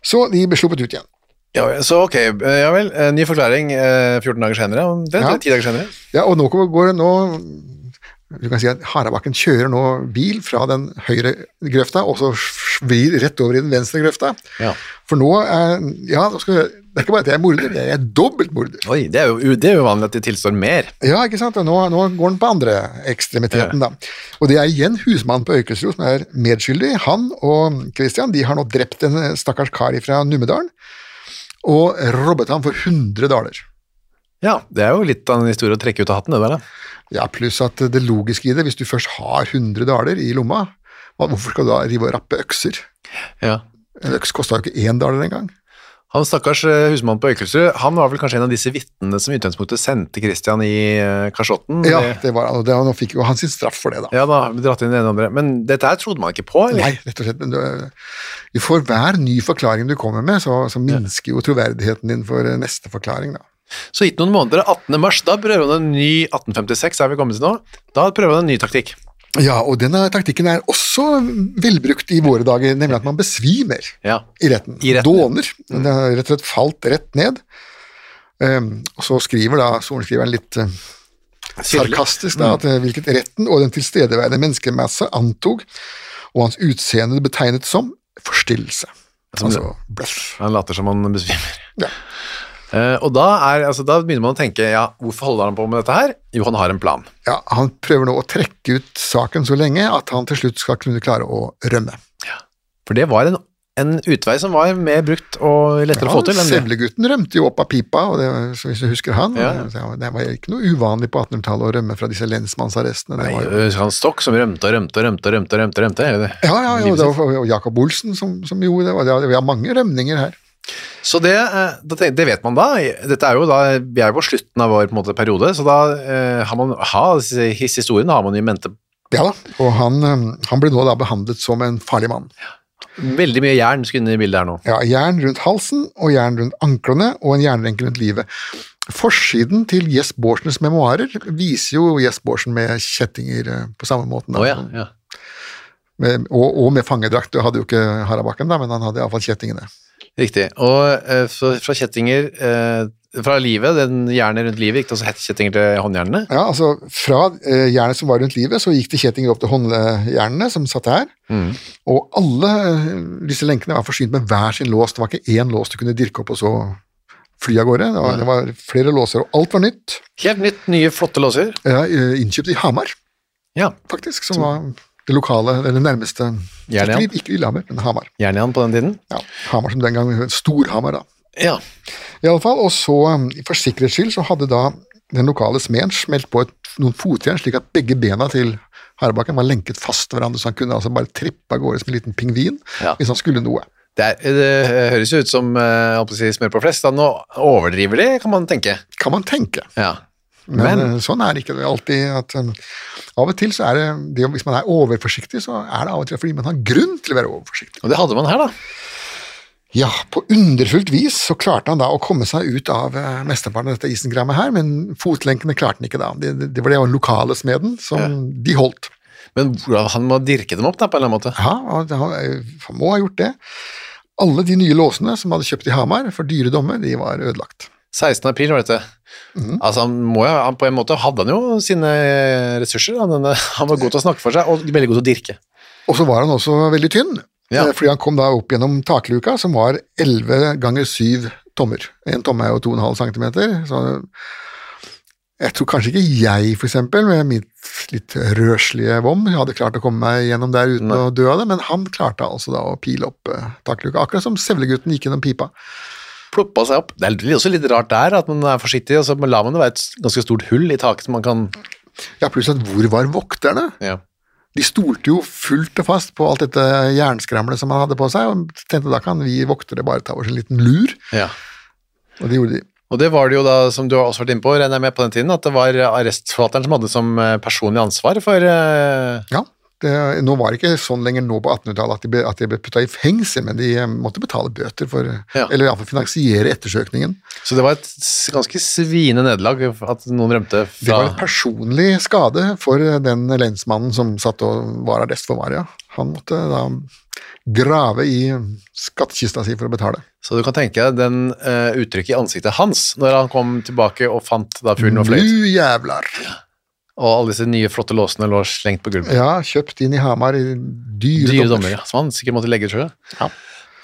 Speaker 3: Så de ble sluppet ut igjen.
Speaker 2: Ja, så ok, eh, ja vel. eh, Ny forklaring eh, 14 dager senere. om Det,
Speaker 3: Ja.
Speaker 2: eller 10 dager senere.
Speaker 3: Ja, og nå går det nå Du kan si at Harabakken kjører nå bil fra den høyre grøfta, og så svir rett over i den venstre grøfta.
Speaker 2: Ja.
Speaker 3: For nå er Ja, nå skal vi høre. Det er ikke bare at jeg er morder, jeg er dobbelt morder.
Speaker 2: Oi, det er jo u- det er jo uvanlig at de tilstår mer.
Speaker 3: Ja, ikke sant? Og nå, nå går han på andre ekstremiteten, da. Og det er igjen husmannen på Øykelsrud som er medskyldig. Han og Christian de har nå drept en stakkars kar fra Numedalen og robbet ham for 100 daler.
Speaker 2: Ja, det er jo litt av en historie å trekke ut av hatten, det der, da.
Speaker 3: Ja, pluss at det logiske i det, hvis du først har 100 daler i lomma, hva- hvorfor skal du da rive og rappe økser?
Speaker 2: Ja.
Speaker 3: En øks kosta jo ikke én daler engang.
Speaker 2: Han stakkars eh, husmannen på Øykelsrud, han var vel kanskje en av disse vitnene som i utgangspunktet sendte Christian i eh, kasjotten?
Speaker 3: Ja,
Speaker 2: Det-
Speaker 3: det var, og det, og nå fikk jo han sin straff for det, da.
Speaker 2: Ja da, dratt inn det ene og andre. Men dette her trodde man ikke på, eller?
Speaker 3: Nei, rett og slett. men du- Du får hver ny forklaring du kommer med, så, så minsker jo troverdigheten din for eh, neste forklaring, da.
Speaker 2: Så gitt noen måneder, 18. mars, da prøver han en ny 1856, er vi kommet til nå, da prøver han en ny taktikk.
Speaker 3: Ja, og denne taktikken er også velbrukt i våre dager, nemlig at man besvimer
Speaker 2: Ja. Mm.
Speaker 3: i retten.
Speaker 2: I retten.
Speaker 3: Dåner. Det har rett og slett falt rett ned. Um, og så skriver da sorenskriveren litt eh, sarkastisk
Speaker 2: Mm.
Speaker 3: da, at eh, hvilket retten og den tilstedeværende menneskemasse antok, og hans utseende betegnet som forstillelse.
Speaker 2: Som det-
Speaker 3: altså bløff.
Speaker 2: Han later som han besvimer.
Speaker 3: Ja.
Speaker 2: Eh, og da, er, altså, da begynner man å tenke, ja, hvorfor holder han på med dette her? Jo, han har en plan.
Speaker 3: Ja, han prøver nå å trekke ut saken så lenge at han til slutt skal kunne klare å rømme.
Speaker 2: For det var en en utvei som var mer brukt og lettere å få til enn det.
Speaker 3: Sevlegutten rømte jo opp av pipa, og det, var- så hvis du husker han.
Speaker 2: Ja, ja.
Speaker 3: Det, var- det var ikke noe uvanlig på 1800-tallet å rømme fra disse lensmannsarrestene. Det
Speaker 2: Nei,
Speaker 3: var jo,
Speaker 2: øh, han Stokk som rømte og rømte og rømte og rømte, og rømte, og rømte hele det.
Speaker 3: ja, ja, jo,
Speaker 2: livet
Speaker 3: det var og Jakob Olsen som, som gjorde det. og det var- Vi har mange rømninger her.
Speaker 2: Så det, eh, da tenk- det vet man da. Dette er jo da, Vi er jo på slutten av vår på en måte, periode, så da eh, har man ha, disse his- historien har man i mente
Speaker 3: Ja da, og han, eh, han ble nå da behandlet som en farlig mann.
Speaker 2: veldig mye jern skulle inn i bildet her nå.
Speaker 3: Ja, Jern rundt halsen og jern rundt anklene og en jernlenke rundt livet. Forsiden til Jess Borsens memoarer viser jo Jess Borsen med kjettinger eh, på samme måten. da.
Speaker 2: Å ja, ja.
Speaker 3: med, og, og med fangedrakt. Det hadde jo ikke Harabakken, da, men han hadde iallfall kjettingene.
Speaker 2: Riktig. Og eh, fra, fra kjettinger eh, fra livet, den jernet rundt livet, gikk det også hettkjettinger til håndjernene?
Speaker 3: Ja, altså Fra eh, jernet som var rundt livet, så gikk det kjettinger opp til håndjernene som satt her. Og alle eh, disse lenkene var forsynt med hver sin lås. Det var ikke én lås du kunne dirke opp og så fly av gårde. Det var, det var flere låser, og alt var nytt.
Speaker 2: Helt nytt, nye, flotte låser.
Speaker 3: Ja, eh, innkjøpt i Hamar,
Speaker 2: Ja,
Speaker 3: faktisk, som var det lokale, eller det nærmeste
Speaker 2: Jernia.
Speaker 3: Ikke, ikke Lillehammer, men Hamar.
Speaker 2: jernjern på den tiden.
Speaker 3: Ja, Hamar som den gang het Storhamar, da.
Speaker 2: Ja.
Speaker 3: I alle fall, og så um, For sikkerhets skyld så hadde da den lokale smeden smelt på et, noen fotjern, slik at begge bena til Harebakken var lenket fast til hverandre, så han kunne altså bare trippe av gårde som en liten pingvin
Speaker 2: Ja.
Speaker 3: hvis han skulle noe.
Speaker 2: Det, er, det høres jo ut som eh, jeg holdt på å si, smør på flest. Da nå overdriver de, kan man tenke.
Speaker 3: Kan man tenke.
Speaker 2: Ja.
Speaker 3: Men,
Speaker 2: Men-
Speaker 3: eh, sånn er det ikke alltid. At, um, av og til så er det, det Hvis man er overforsiktig, så er det av og til fordi man har grunn til å være overforsiktig.
Speaker 2: Og det hadde man her, da.
Speaker 3: Ja, på underfullt vis så klarte han da å komme seg ut av eh, mesteparten av dette isengrammet her, men fotlenkene klarte han ikke da. Det, det, det var det jo den lokale smeden som de holdt.
Speaker 2: Men hvordan- han må dirke dem opp da, på en eller annen måte.
Speaker 3: Ja, og det- han han må ha gjort det. Alle de nye låsene som hadde kjøpt i Hamar for dyre dommer, de var ødelagt.
Speaker 2: 16. april var dette. Altså, han må jo, han, på en måte hadde han jo sine eh, ressurser. Han, denne- han var god til å snakke for seg, og veldig god til å dirke.
Speaker 3: Og så var han også veldig tynn,
Speaker 2: Ja.
Speaker 3: eh, fordi han kom da opp gjennom takluka, som var 11 ganger 7 tommer. En tomme er jo 2,5 cm, så jeg tror kanskje ikke jeg, for eksempel, med mitt litt røslige vom, hadde klart å komme meg gjennom der uten
Speaker 2: Nei.
Speaker 3: å dø av det, men han klarte altså da å pile opp eh, takluka, akkurat som Sevlegutten gikk gjennom pipa.
Speaker 2: Ploppa seg opp. Det er også litt rart der, at man er forsiktig, og så lar man det være et ganske stort hull i taket som man kan
Speaker 3: Ja, pluss at hvor var vokterne?
Speaker 2: ja.
Speaker 3: De stolte jo fullt og fast på alt dette jernskramlet som han hadde på seg, og tenkte da kan vi voktere bare ta oss en liten lur,
Speaker 2: ja.
Speaker 3: og det gjorde de.
Speaker 2: Og det var det jo da, som du har også vært inne på, regner jeg med på den tiden, at det var arrestforvalteren som hadde som eh, personlig ansvar for eh,
Speaker 3: Ja, det, nå var det ikke sånn lenger nå på 1800-tallet at de ble, at de ble putta i fengsel, men de eh, måtte betale bøter for,
Speaker 2: Ja.
Speaker 3: eller iallfall finansiere ettersøkningen.
Speaker 2: Så det var et s- ganske sviende nederlag at noen rømte
Speaker 3: Det var en
Speaker 2: fra
Speaker 3: personlig skade for eh, den lensmannen som satt og var arrest for Varia. Han måtte da grave i skattkista si for å betale.
Speaker 2: Så du kan tenke deg den eh, uttrykket i ansiktet hans når han kom tilbake og fant da fuglen og
Speaker 3: Nu
Speaker 2: fløyt,
Speaker 3: jævlar!
Speaker 2: og alle disse nye flotte låsene lå slengt på gulvet.
Speaker 3: Ja, kjøpt inn i Hamar i dyre,
Speaker 2: Dyre
Speaker 3: dommer.
Speaker 2: dommer, ja. Som han sikkert måtte legge, tror jeg.
Speaker 3: Ja.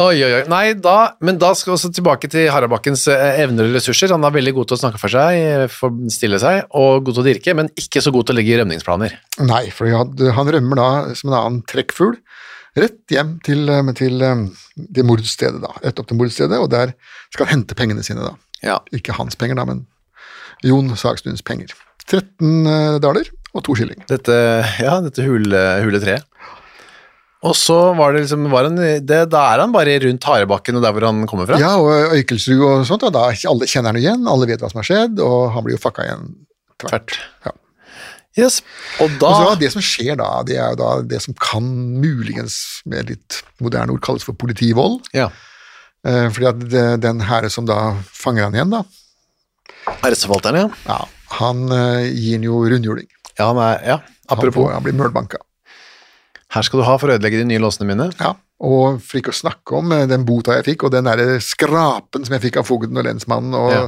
Speaker 2: Oi, oi, oi. Nei, da, men da skal vi også tilbake til Harabakkens eh, evner og ressurser. Han er veldig god til å snakke for seg, eh, for- stille seg, og god til å dirke, men ikke så god til å legge rømningsplaner.
Speaker 3: Nei, for han, han rømmer da som en annen trekkfugl rett hjem til, eh, til eh, det mordstedet, da. Rett opp til mordstedet, og der skal han hente pengene sine, da.
Speaker 2: Ja.
Speaker 3: Ikke hans penger, da, men Jon Sagstuens penger. 13 daler og to skilling.
Speaker 2: Dette, ja, dette hule, hule treet. Og så var det liksom, var han, det, da er han bare rundt Harebakken og der hvor han kommer fra.
Speaker 3: Ja, og Øykelsrud og sånt, og da er ikke alle kjenner han igjen, alle vet hva som har skjedd, og han blir jo fucka igjen.
Speaker 2: Tvert.
Speaker 3: Ja.
Speaker 2: Yes. Og da,
Speaker 3: Og så Det som skjer da, det er jo da det som kan muligens med litt moderne ord kalles for politivold.
Speaker 2: ja,
Speaker 3: Eh, fordi at det, den herre som da fanger han igjen, da,
Speaker 2: æresforvalteren, ja.
Speaker 3: Ja, han eh, gir han jo rundhjuling.
Speaker 2: Ja, han er, ja.
Speaker 3: Han,
Speaker 2: Apropos,
Speaker 3: får, han blir mølbanka.
Speaker 2: her skal du ha for å ødelegge de nye låsene mine.
Speaker 3: Ja. Og for ikke å snakke om eh, den bota jeg fikk, og den der skrapen som jeg fikk av fogden og lensmannen, og
Speaker 2: Ja.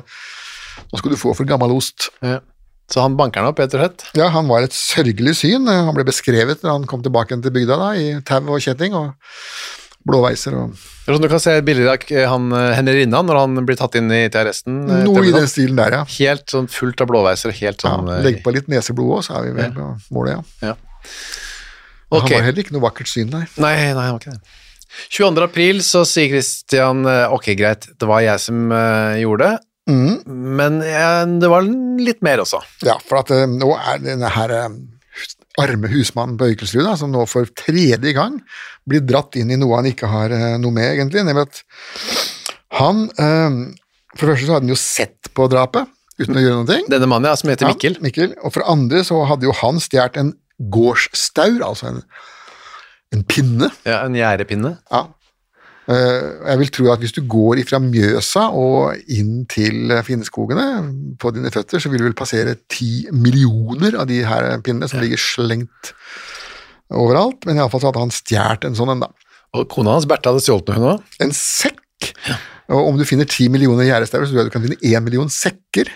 Speaker 3: nå skal du få for gammel ost.
Speaker 2: Ja. Så han banker den opp, rett og slett.
Speaker 3: Ja, han var et sørgelig syn. Eh, Han ble beskrevet når han kom tilbake igjen til bygda da, i tau og kjetting og blåveiser og
Speaker 2: Det er sånn du kan se bilder av k- han, eh, Henrinna når han blir tatt inn i, til arresten. eh,
Speaker 3: noe i
Speaker 2: ettermiddag.
Speaker 3: den stilen der, ja.
Speaker 2: Helt sånn fullt av blåveiser, og helt
Speaker 3: ja
Speaker 2: sånn... eh,
Speaker 3: Legg på litt neseblod òg, så er vi vel på målet, ja.
Speaker 2: Ja.
Speaker 3: Han
Speaker 2: Ok.
Speaker 3: var heller ikke noe vakkert syn, nei.
Speaker 2: Nei, nei, han var ikke det. 22. april så sier Christian eh, ok, greit, det var jeg som eh, gjorde det,
Speaker 3: Mm.
Speaker 2: men eh, det var litt mer også.
Speaker 3: Ja, for at eh, nå er denne her eh, hus- arme husmannen på Øykelsrud, da, som nå for tredje gang blir dratt inn i noe han ikke har eh, noe med, egentlig, nemlig at han eh, For det første så hadde han jo sett på drapet uten å gjøre noen ting.
Speaker 2: Denne mannen ja, som heter Mikkel.
Speaker 3: Ja, Mikkel. Og for det andre så hadde jo han stjålet en gårdsstaur, altså en, en pinne.
Speaker 2: Ja, en gjerdepinne.
Speaker 3: Ja. Eh, og jeg vil tro at hvis du går ifra Mjøsa og inn til eh, Finnskogene på dine føtter, så vil du vel passere ti millioner av de her pinnene som ligger slengt overalt. Men iallfall så hadde han stjålet en sånn en, da.
Speaker 2: Og kona hans, Bertha, hadde stjålet noe, hun òg.
Speaker 3: En sekk! Og om du finner ti millioner gjerdestauer, så tror jeg du kan finne én million sekker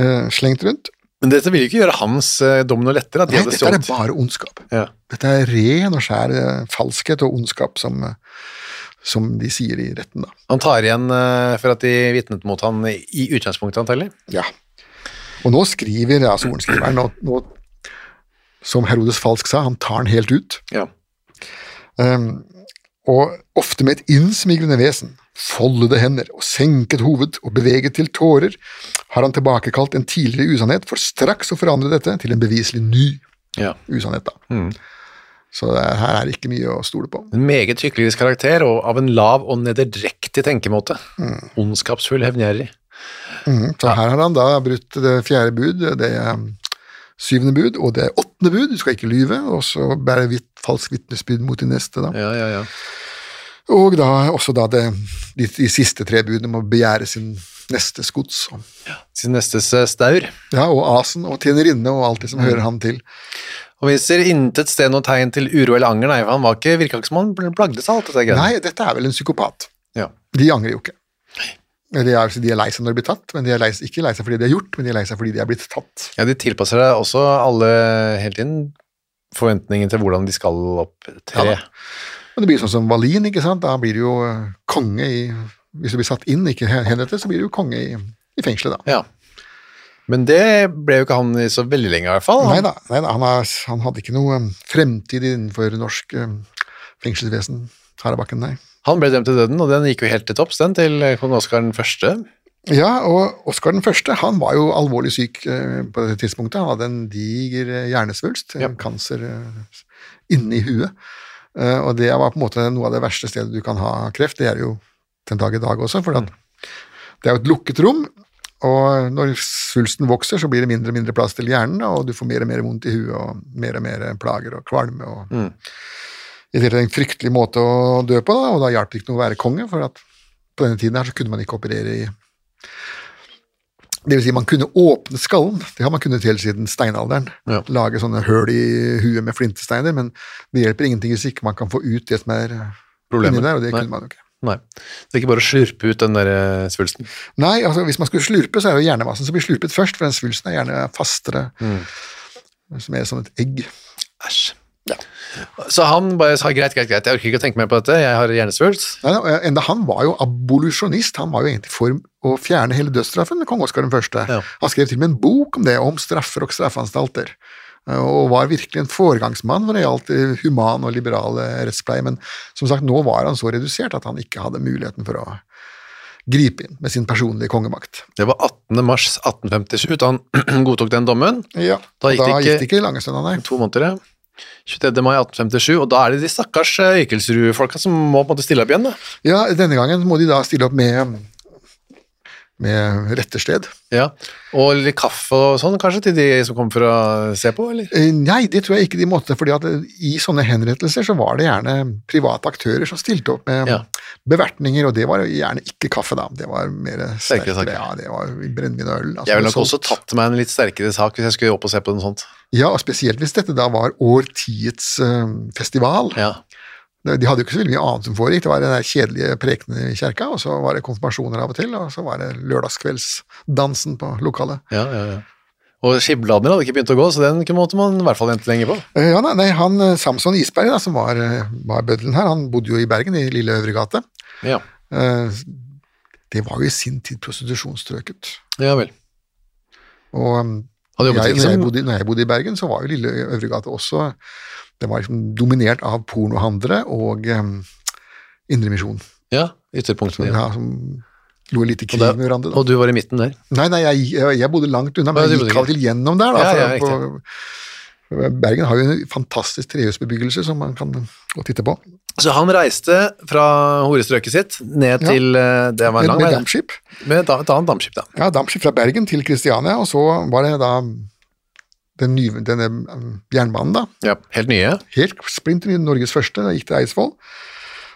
Speaker 3: eh, slengt rundt.
Speaker 2: Men dette ville jo ikke gjøre hans eh, dom noe lettere, at de
Speaker 3: Nei,
Speaker 2: hadde
Speaker 3: dette er
Speaker 2: stjålet.
Speaker 3: bare ondskap.
Speaker 2: Ja.
Speaker 3: Dette er ren og skjær eh, falskhet og ondskap, som, eh, som de sier i retten, da.
Speaker 2: Han tar igjen eh, for at de vitnet mot han i i utgangspunktet, antagelig.
Speaker 3: Ja. Og nå skriver ja, sorenskriveren, nå, nå, som Herodes Falsk sa, han tar den helt ut.
Speaker 2: Ja.
Speaker 3: Ehm, og ofte med et innsmigrende vesen, foldede hender og senket hoved og beveget til tårer, har han tilbakekalt en tidligere usannhet for straks å forandre dette til en beviselig ny
Speaker 2: ja.
Speaker 3: usannhet. Da. Så det, er- her er det ikke mye å stole på.
Speaker 2: En meget hyklerisk karakter, og av en lav og nederdrektig tenkemåte.
Speaker 3: Hmm.
Speaker 2: Ondskapsfull hevngjerrig.
Speaker 3: Mhm, Så her har han da brutt det fjerde bud, det um, syvende bud og det åttende bud, du skal ikke lyve, og så bære vitt, falsk vitnesbyrd mot de neste. Da.
Speaker 2: Ja, ja, ja.
Speaker 3: Og da også da det, de, de siste tre budene om å begjære sin nestes gods. og-
Speaker 2: Sin nestes eh, staur.
Speaker 3: Ja, og asen og tjenerinne og alt det som hører han til.
Speaker 2: Og viser intet sted noe tegn til uro eller anger, nei, for han var ikke, virka ikke som han bl- plagde seg alt dette greiene.
Speaker 3: Nei, dette er vel en psykopat.
Speaker 2: Ja.
Speaker 3: De angrer jo ikke. De er, de er lei seg når de blir tatt, men de er lei, ikke lei seg fordi de har gjort, men de er lei seg fordi de er blitt tatt.
Speaker 2: ja, de tilpasser deg også alle hele tiden forventningen til hvordan de skal opptre.
Speaker 3: Ja da. Men det blir sånn som Wallin, ikke sant? Da blir du jo eh, konge i Hvis du blir satt inn, ikke hen- henrettet, så blir du jo konge i, i fengselet, da.
Speaker 2: Ja. Men det ble jo ikke han i så veldig lenge, i hvert fall.
Speaker 3: Nei da, nei da han, er, han hadde ikke noe eh, fremtid innenfor norsk eh, fengselsvesen. Tarabakken, nei.
Speaker 2: Han ble dømt til døden, og den gikk jo helt til topps, den, til kong Oskar den første.
Speaker 3: Ja, og Oskar den første, han var jo alvorlig syk eh, på det tidspunktet. Han hadde en diger eh, hjernesvulst, en kancer eh, inni huet. Eh, Og det var på en måte noe av det verste stedet du kan ha kreft. Det er det jo den dag i dag også, for at det er jo et lukket rom. Og når svulsten vokser, så blir det mindre og mindre plass til hjernen, og du får mer og mer vondt i huet og mer og mer plager og kvalme. og I det er en fryktelig måte å dø på, da, og da hjalp det ikke noe å være konge, for at på denne tiden her så kunne man ikke operere i det vil si, man kunne åpne skallen, det har man kunnet helt siden steinalderen.
Speaker 2: Ja.
Speaker 3: Lage sånne høl i huet med flintesteiner, men det hjelper ingenting hvis ikke man kan få ut det som er eh,
Speaker 2: Problemet.
Speaker 3: inni der, og det
Speaker 2: Nei.
Speaker 3: kunne man jo ikke.
Speaker 2: Nei. Det er ikke bare å slurpe ut den der eh, svulsten.
Speaker 3: Nei, altså hvis man skulle slurpe, så er det jo hjernemassen som blir slurpet først, for den svulsten er gjerne fastere,
Speaker 2: Mm.
Speaker 3: som er som et egg.
Speaker 2: Æsj. Så han bare sa greit, greit, greit, jeg orker ikke å tenke mer på dette, jeg har hjernesvulst.
Speaker 3: Nei, nei, enda han var jo abolusjonist, han var jo egentlig for å fjerne hele dødsstraffen, kong Oskar den første.
Speaker 2: Ja.
Speaker 3: Han skrev til og med en bok om det, om straffer og straffeanstalter, og var virkelig en foregangsmann når det gjaldt eh, human og liberal eh, rettspleie, men som sagt, nå var han så redusert at han ikke hadde muligheten for å gripe inn med sin personlige kongemakt.
Speaker 2: Det var 18. mars 1857 da han [clears throat] godtok den dommen.
Speaker 3: Ja,
Speaker 2: Da
Speaker 3: og
Speaker 2: gikk det
Speaker 3: da
Speaker 2: ikke-
Speaker 3: gikk det ikke lange stønda, nei.
Speaker 2: To måneder, ja. 23. mai 1857, og da er det de stakkars eh, Øykelsrud-folka som må på en måte stille opp igjen, da.
Speaker 3: Ja, denne gangen må de da stille opp med, med rettersted.
Speaker 2: Ja. Og litt kaffe og sånn, kanskje, til de som kommer for å se på, eller?
Speaker 3: Eh, Nei, det tror jeg ikke de måtte, fordi at eh, i sånne henrettelser så var det gjerne private aktører som stilte opp med
Speaker 2: Ja.
Speaker 3: bevertninger, og det var jo gjerne ikke kaffe, da. Det var mer
Speaker 2: Sterkere
Speaker 3: sterkere,
Speaker 2: saker.
Speaker 3: Ja, det var jo brennevin og øl. altså,
Speaker 2: Jeg ville
Speaker 3: det
Speaker 2: nok også
Speaker 3: solgt.
Speaker 2: tatt meg en litt sterkere sak hvis jeg skulle opp og se på noe sånt.
Speaker 3: Ja, og spesielt hvis dette da var årtiets eh, festival.
Speaker 2: Ja.
Speaker 3: De de hadde jo ikke så veldig mye annet som foregikk. Det var den der kjedelige prekenen i kirka, og så var det konfirmasjoner av og til, og så var det lørdagskveldsdansen på lokalet.
Speaker 2: Ja, ja, ja. Og skibladene hadde ikke begynt å gå, så den kunne- måtte man i hvert fall vente lenge på.
Speaker 3: Eh, Ja, nei, nei, han eh, Samson Isberg, da, som var, eh, var bøddelen her, han bodde jo i Bergen, i Lille Øvregate.
Speaker 2: Ja,
Speaker 3: Eh, Det var jo i sin tid prostitusjonsstrøket.
Speaker 2: ja vel.
Speaker 3: Og um,
Speaker 2: Han
Speaker 3: jeg,
Speaker 2: jobbet ikke liksom-
Speaker 3: når, jeg
Speaker 2: som-
Speaker 3: bodde, når jeg bodde i Bergen, så var jo Lille Øvregate også Det var liksom dominert av pornohandlere og um, Indremisjon.
Speaker 2: Ja, ytterpunktene. Ja.
Speaker 3: Ja, som lå litt i krig
Speaker 2: Og, det-
Speaker 3: med hverandre. Da.
Speaker 2: og du var i midten der.
Speaker 3: Nei, nei, jeg, jeg- jeg bodde langt unna, men
Speaker 2: Ja, du
Speaker 3: jeg
Speaker 2: bodde
Speaker 3: gikk
Speaker 2: ikke.
Speaker 3: av og til gjennom der. Da,
Speaker 2: Ja,
Speaker 3: for-
Speaker 2: ja, riktig.
Speaker 3: for- Bergen har jo en fantastisk trehusbebyggelse som man kan gå og titte på.
Speaker 2: Så han reiste fra horestrøket sitt ned
Speaker 3: Ja.
Speaker 2: til eh, Det var en
Speaker 3: Med,
Speaker 2: lang
Speaker 3: med
Speaker 2: vei. da.
Speaker 3: dampskip.
Speaker 2: Med da, et annet dampskip, da.
Speaker 3: Ja, dampskip fra Bergen til Kristiania, og så var det da den nye, denne um, jernbanen, da.
Speaker 2: Ja, Helt nye.
Speaker 3: Helt splinter ny, Norges første, da gikk til Eidsvoll.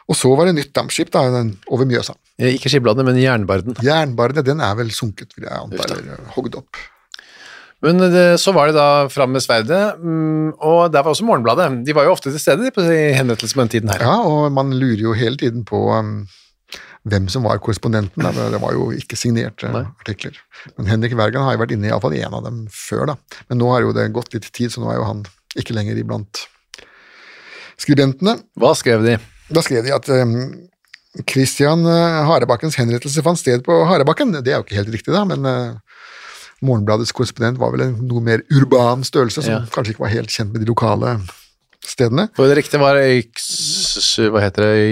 Speaker 3: Og så var det nytt dampskip da, den, over Mjøsa.
Speaker 2: Eh, Ikke Skibladet, men Jernbarden.
Speaker 3: Jernbarene, den er vel sunket, vil jeg anta,
Speaker 2: Uff da.
Speaker 3: eller eh, hogd opp.
Speaker 2: Men det, så var det da fram med sverdet, mm, og der var også Morgenbladet. De var jo ofte til stede de, på i henrettelse på den tiden her.
Speaker 3: Ja, og man lurer jo hele tiden på um, hvem som var korrespondenten. Da. men Det var jo ikke signerte artikler. Men Henrik Wergan har jo vært inne i iallfall én av dem før, da. Men nå har jo det gått litt tid, så nå er jo han ikke lenger iblant skribentene.
Speaker 2: Hva skrev de?
Speaker 3: Da skrev de at um, Christian eh, Harebakkens henrettelse fant sted på Harebakken. Det er jo ikke helt riktig, da, men eh, Morgenbladets korrespondent var vel en noe mer urban størrelse, som
Speaker 2: Ja.
Speaker 3: kanskje ikke var helt kjent med de lokale stedene.
Speaker 2: For det riktige var Øyks... Hva heter det?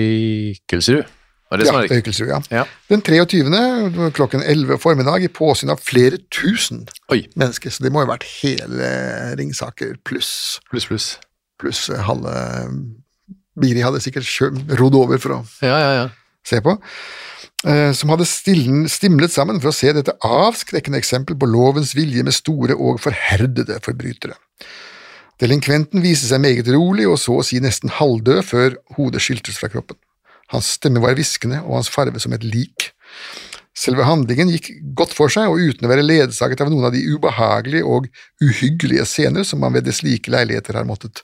Speaker 2: Øykelsrud? Var det som var
Speaker 3: ja,
Speaker 2: riktig?
Speaker 3: Øykelsrud, ja.
Speaker 2: Ja.
Speaker 3: Den 23. klokken 11 formiddag i påsyn av flere tusen
Speaker 2: Oi.
Speaker 3: mennesker, så det må jo ha vært hele eh, Ringsaker pluss
Speaker 2: Pluss, pluss.
Speaker 3: pluss eh, halve Biri hadde sikkert kjø- rodd over for å
Speaker 2: Ja, ja, ja.
Speaker 3: se på, eh, som hadde stillen, stimlet sammen for å se dette avskrekkende eksempel på lovens vilje med store og forherdede forbrytere. Delinkventen viste seg meget rolig og så å si nesten halvdød før hodet skyltes fra kroppen. Hans stemme var hviskende og hans farve som et lik. Selve handlingen gikk godt for seg, og uten å være ledsaget av noen av de ubehagelige og uhyggelige scener som man ved det slike leiligheter har måttet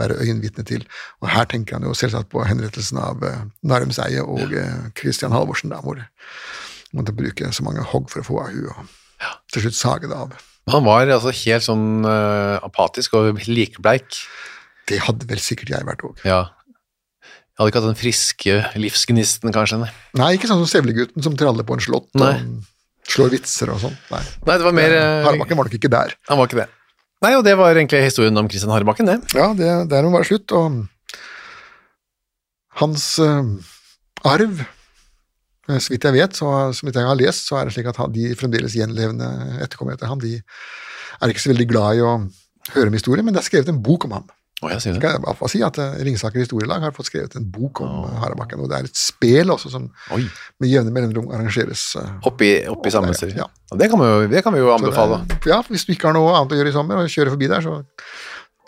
Speaker 3: være øyenvitne til. Og her tenker han jo selvsagt på henrettelsen av eh, Narumseie og eh, Christian Halvorsen, da, hvor han måtte bruke så mange hogg for å få av henne, og til slutt sage det av.
Speaker 2: Han var altså helt sånn eh, apatisk og likebleik.
Speaker 3: Det hadde vel sikkert jeg vært òg.
Speaker 2: Ja. Jeg hadde ikke hatt den friske livsgnisten, kanskje. Nei,
Speaker 3: Nei, ikke sånn som Sevlegutten som traller på en slott
Speaker 2: Nei.
Speaker 3: og slår vitser og sånn. Nei.
Speaker 2: nei det var mer eh,
Speaker 3: Harebakken var nok ikke der.
Speaker 2: Han var ikke det. Nei, og det var egentlig historien om Kristian Harebakken, det.
Speaker 3: Ja, det, der må være slutt, og hans eh, arv eh, så vidt jeg vet, så, så vidt jeg har lest, så er det slik at han, de fremdeles gjenlevende etterkommere etter ham, de er ikke så veldig glad i å høre om historie, men det er skrevet en bok om ham.
Speaker 2: Å, jeg sier
Speaker 3: Så
Speaker 2: det.
Speaker 3: kan jeg i hvert fall si at eh, Ringsaker historielag har fått skrevet en bok om eh, Harebakken, og det er et spel også som
Speaker 2: Oi.
Speaker 3: med jevne mellomrom arrangeres. eh.
Speaker 2: Oppi, oppi samme
Speaker 3: der,
Speaker 2: sted.
Speaker 3: ja.
Speaker 2: Og Det, kan vi jo- det kan vi jo
Speaker 3: Så det
Speaker 2: anbefale.
Speaker 3: er- Ja, hvis du ikke har noe annet å gjøre i sommer og kjører forbi der, så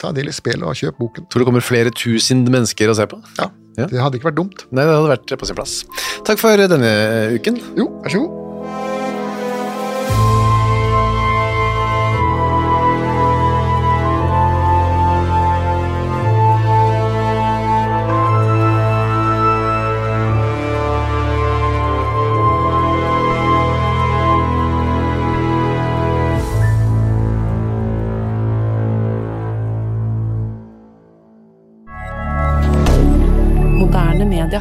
Speaker 3: ta del i spelet og kjøp boken.
Speaker 2: Tror det kommer flere tusen mennesker å se på?
Speaker 3: Ja,
Speaker 2: Ja.
Speaker 3: det hadde ikke vært dumt.
Speaker 2: Nei, det hadde vært på sin plass. Takk for denne eh, uken.
Speaker 3: Jo, vær så god.
Speaker 4: Moderne media.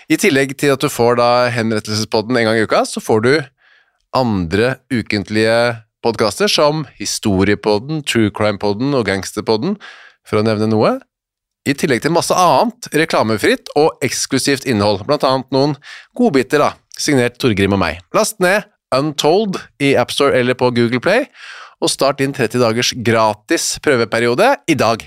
Speaker 2: I tillegg til at du får da Henrettelsespodden en gang i uka, så får du andre ukentlige podkaster som Historiepodden, True Crime-podden og Gangsterpodden, for å nevne noe. I tillegg til masse annet reklamefritt og eksklusivt innhold, blant annet noen godbiter, da, signert Torgrim og meg. Last ned Untold i AppStore eller på Google Play, og start din 30 dagers gratis prøveperiode i dag.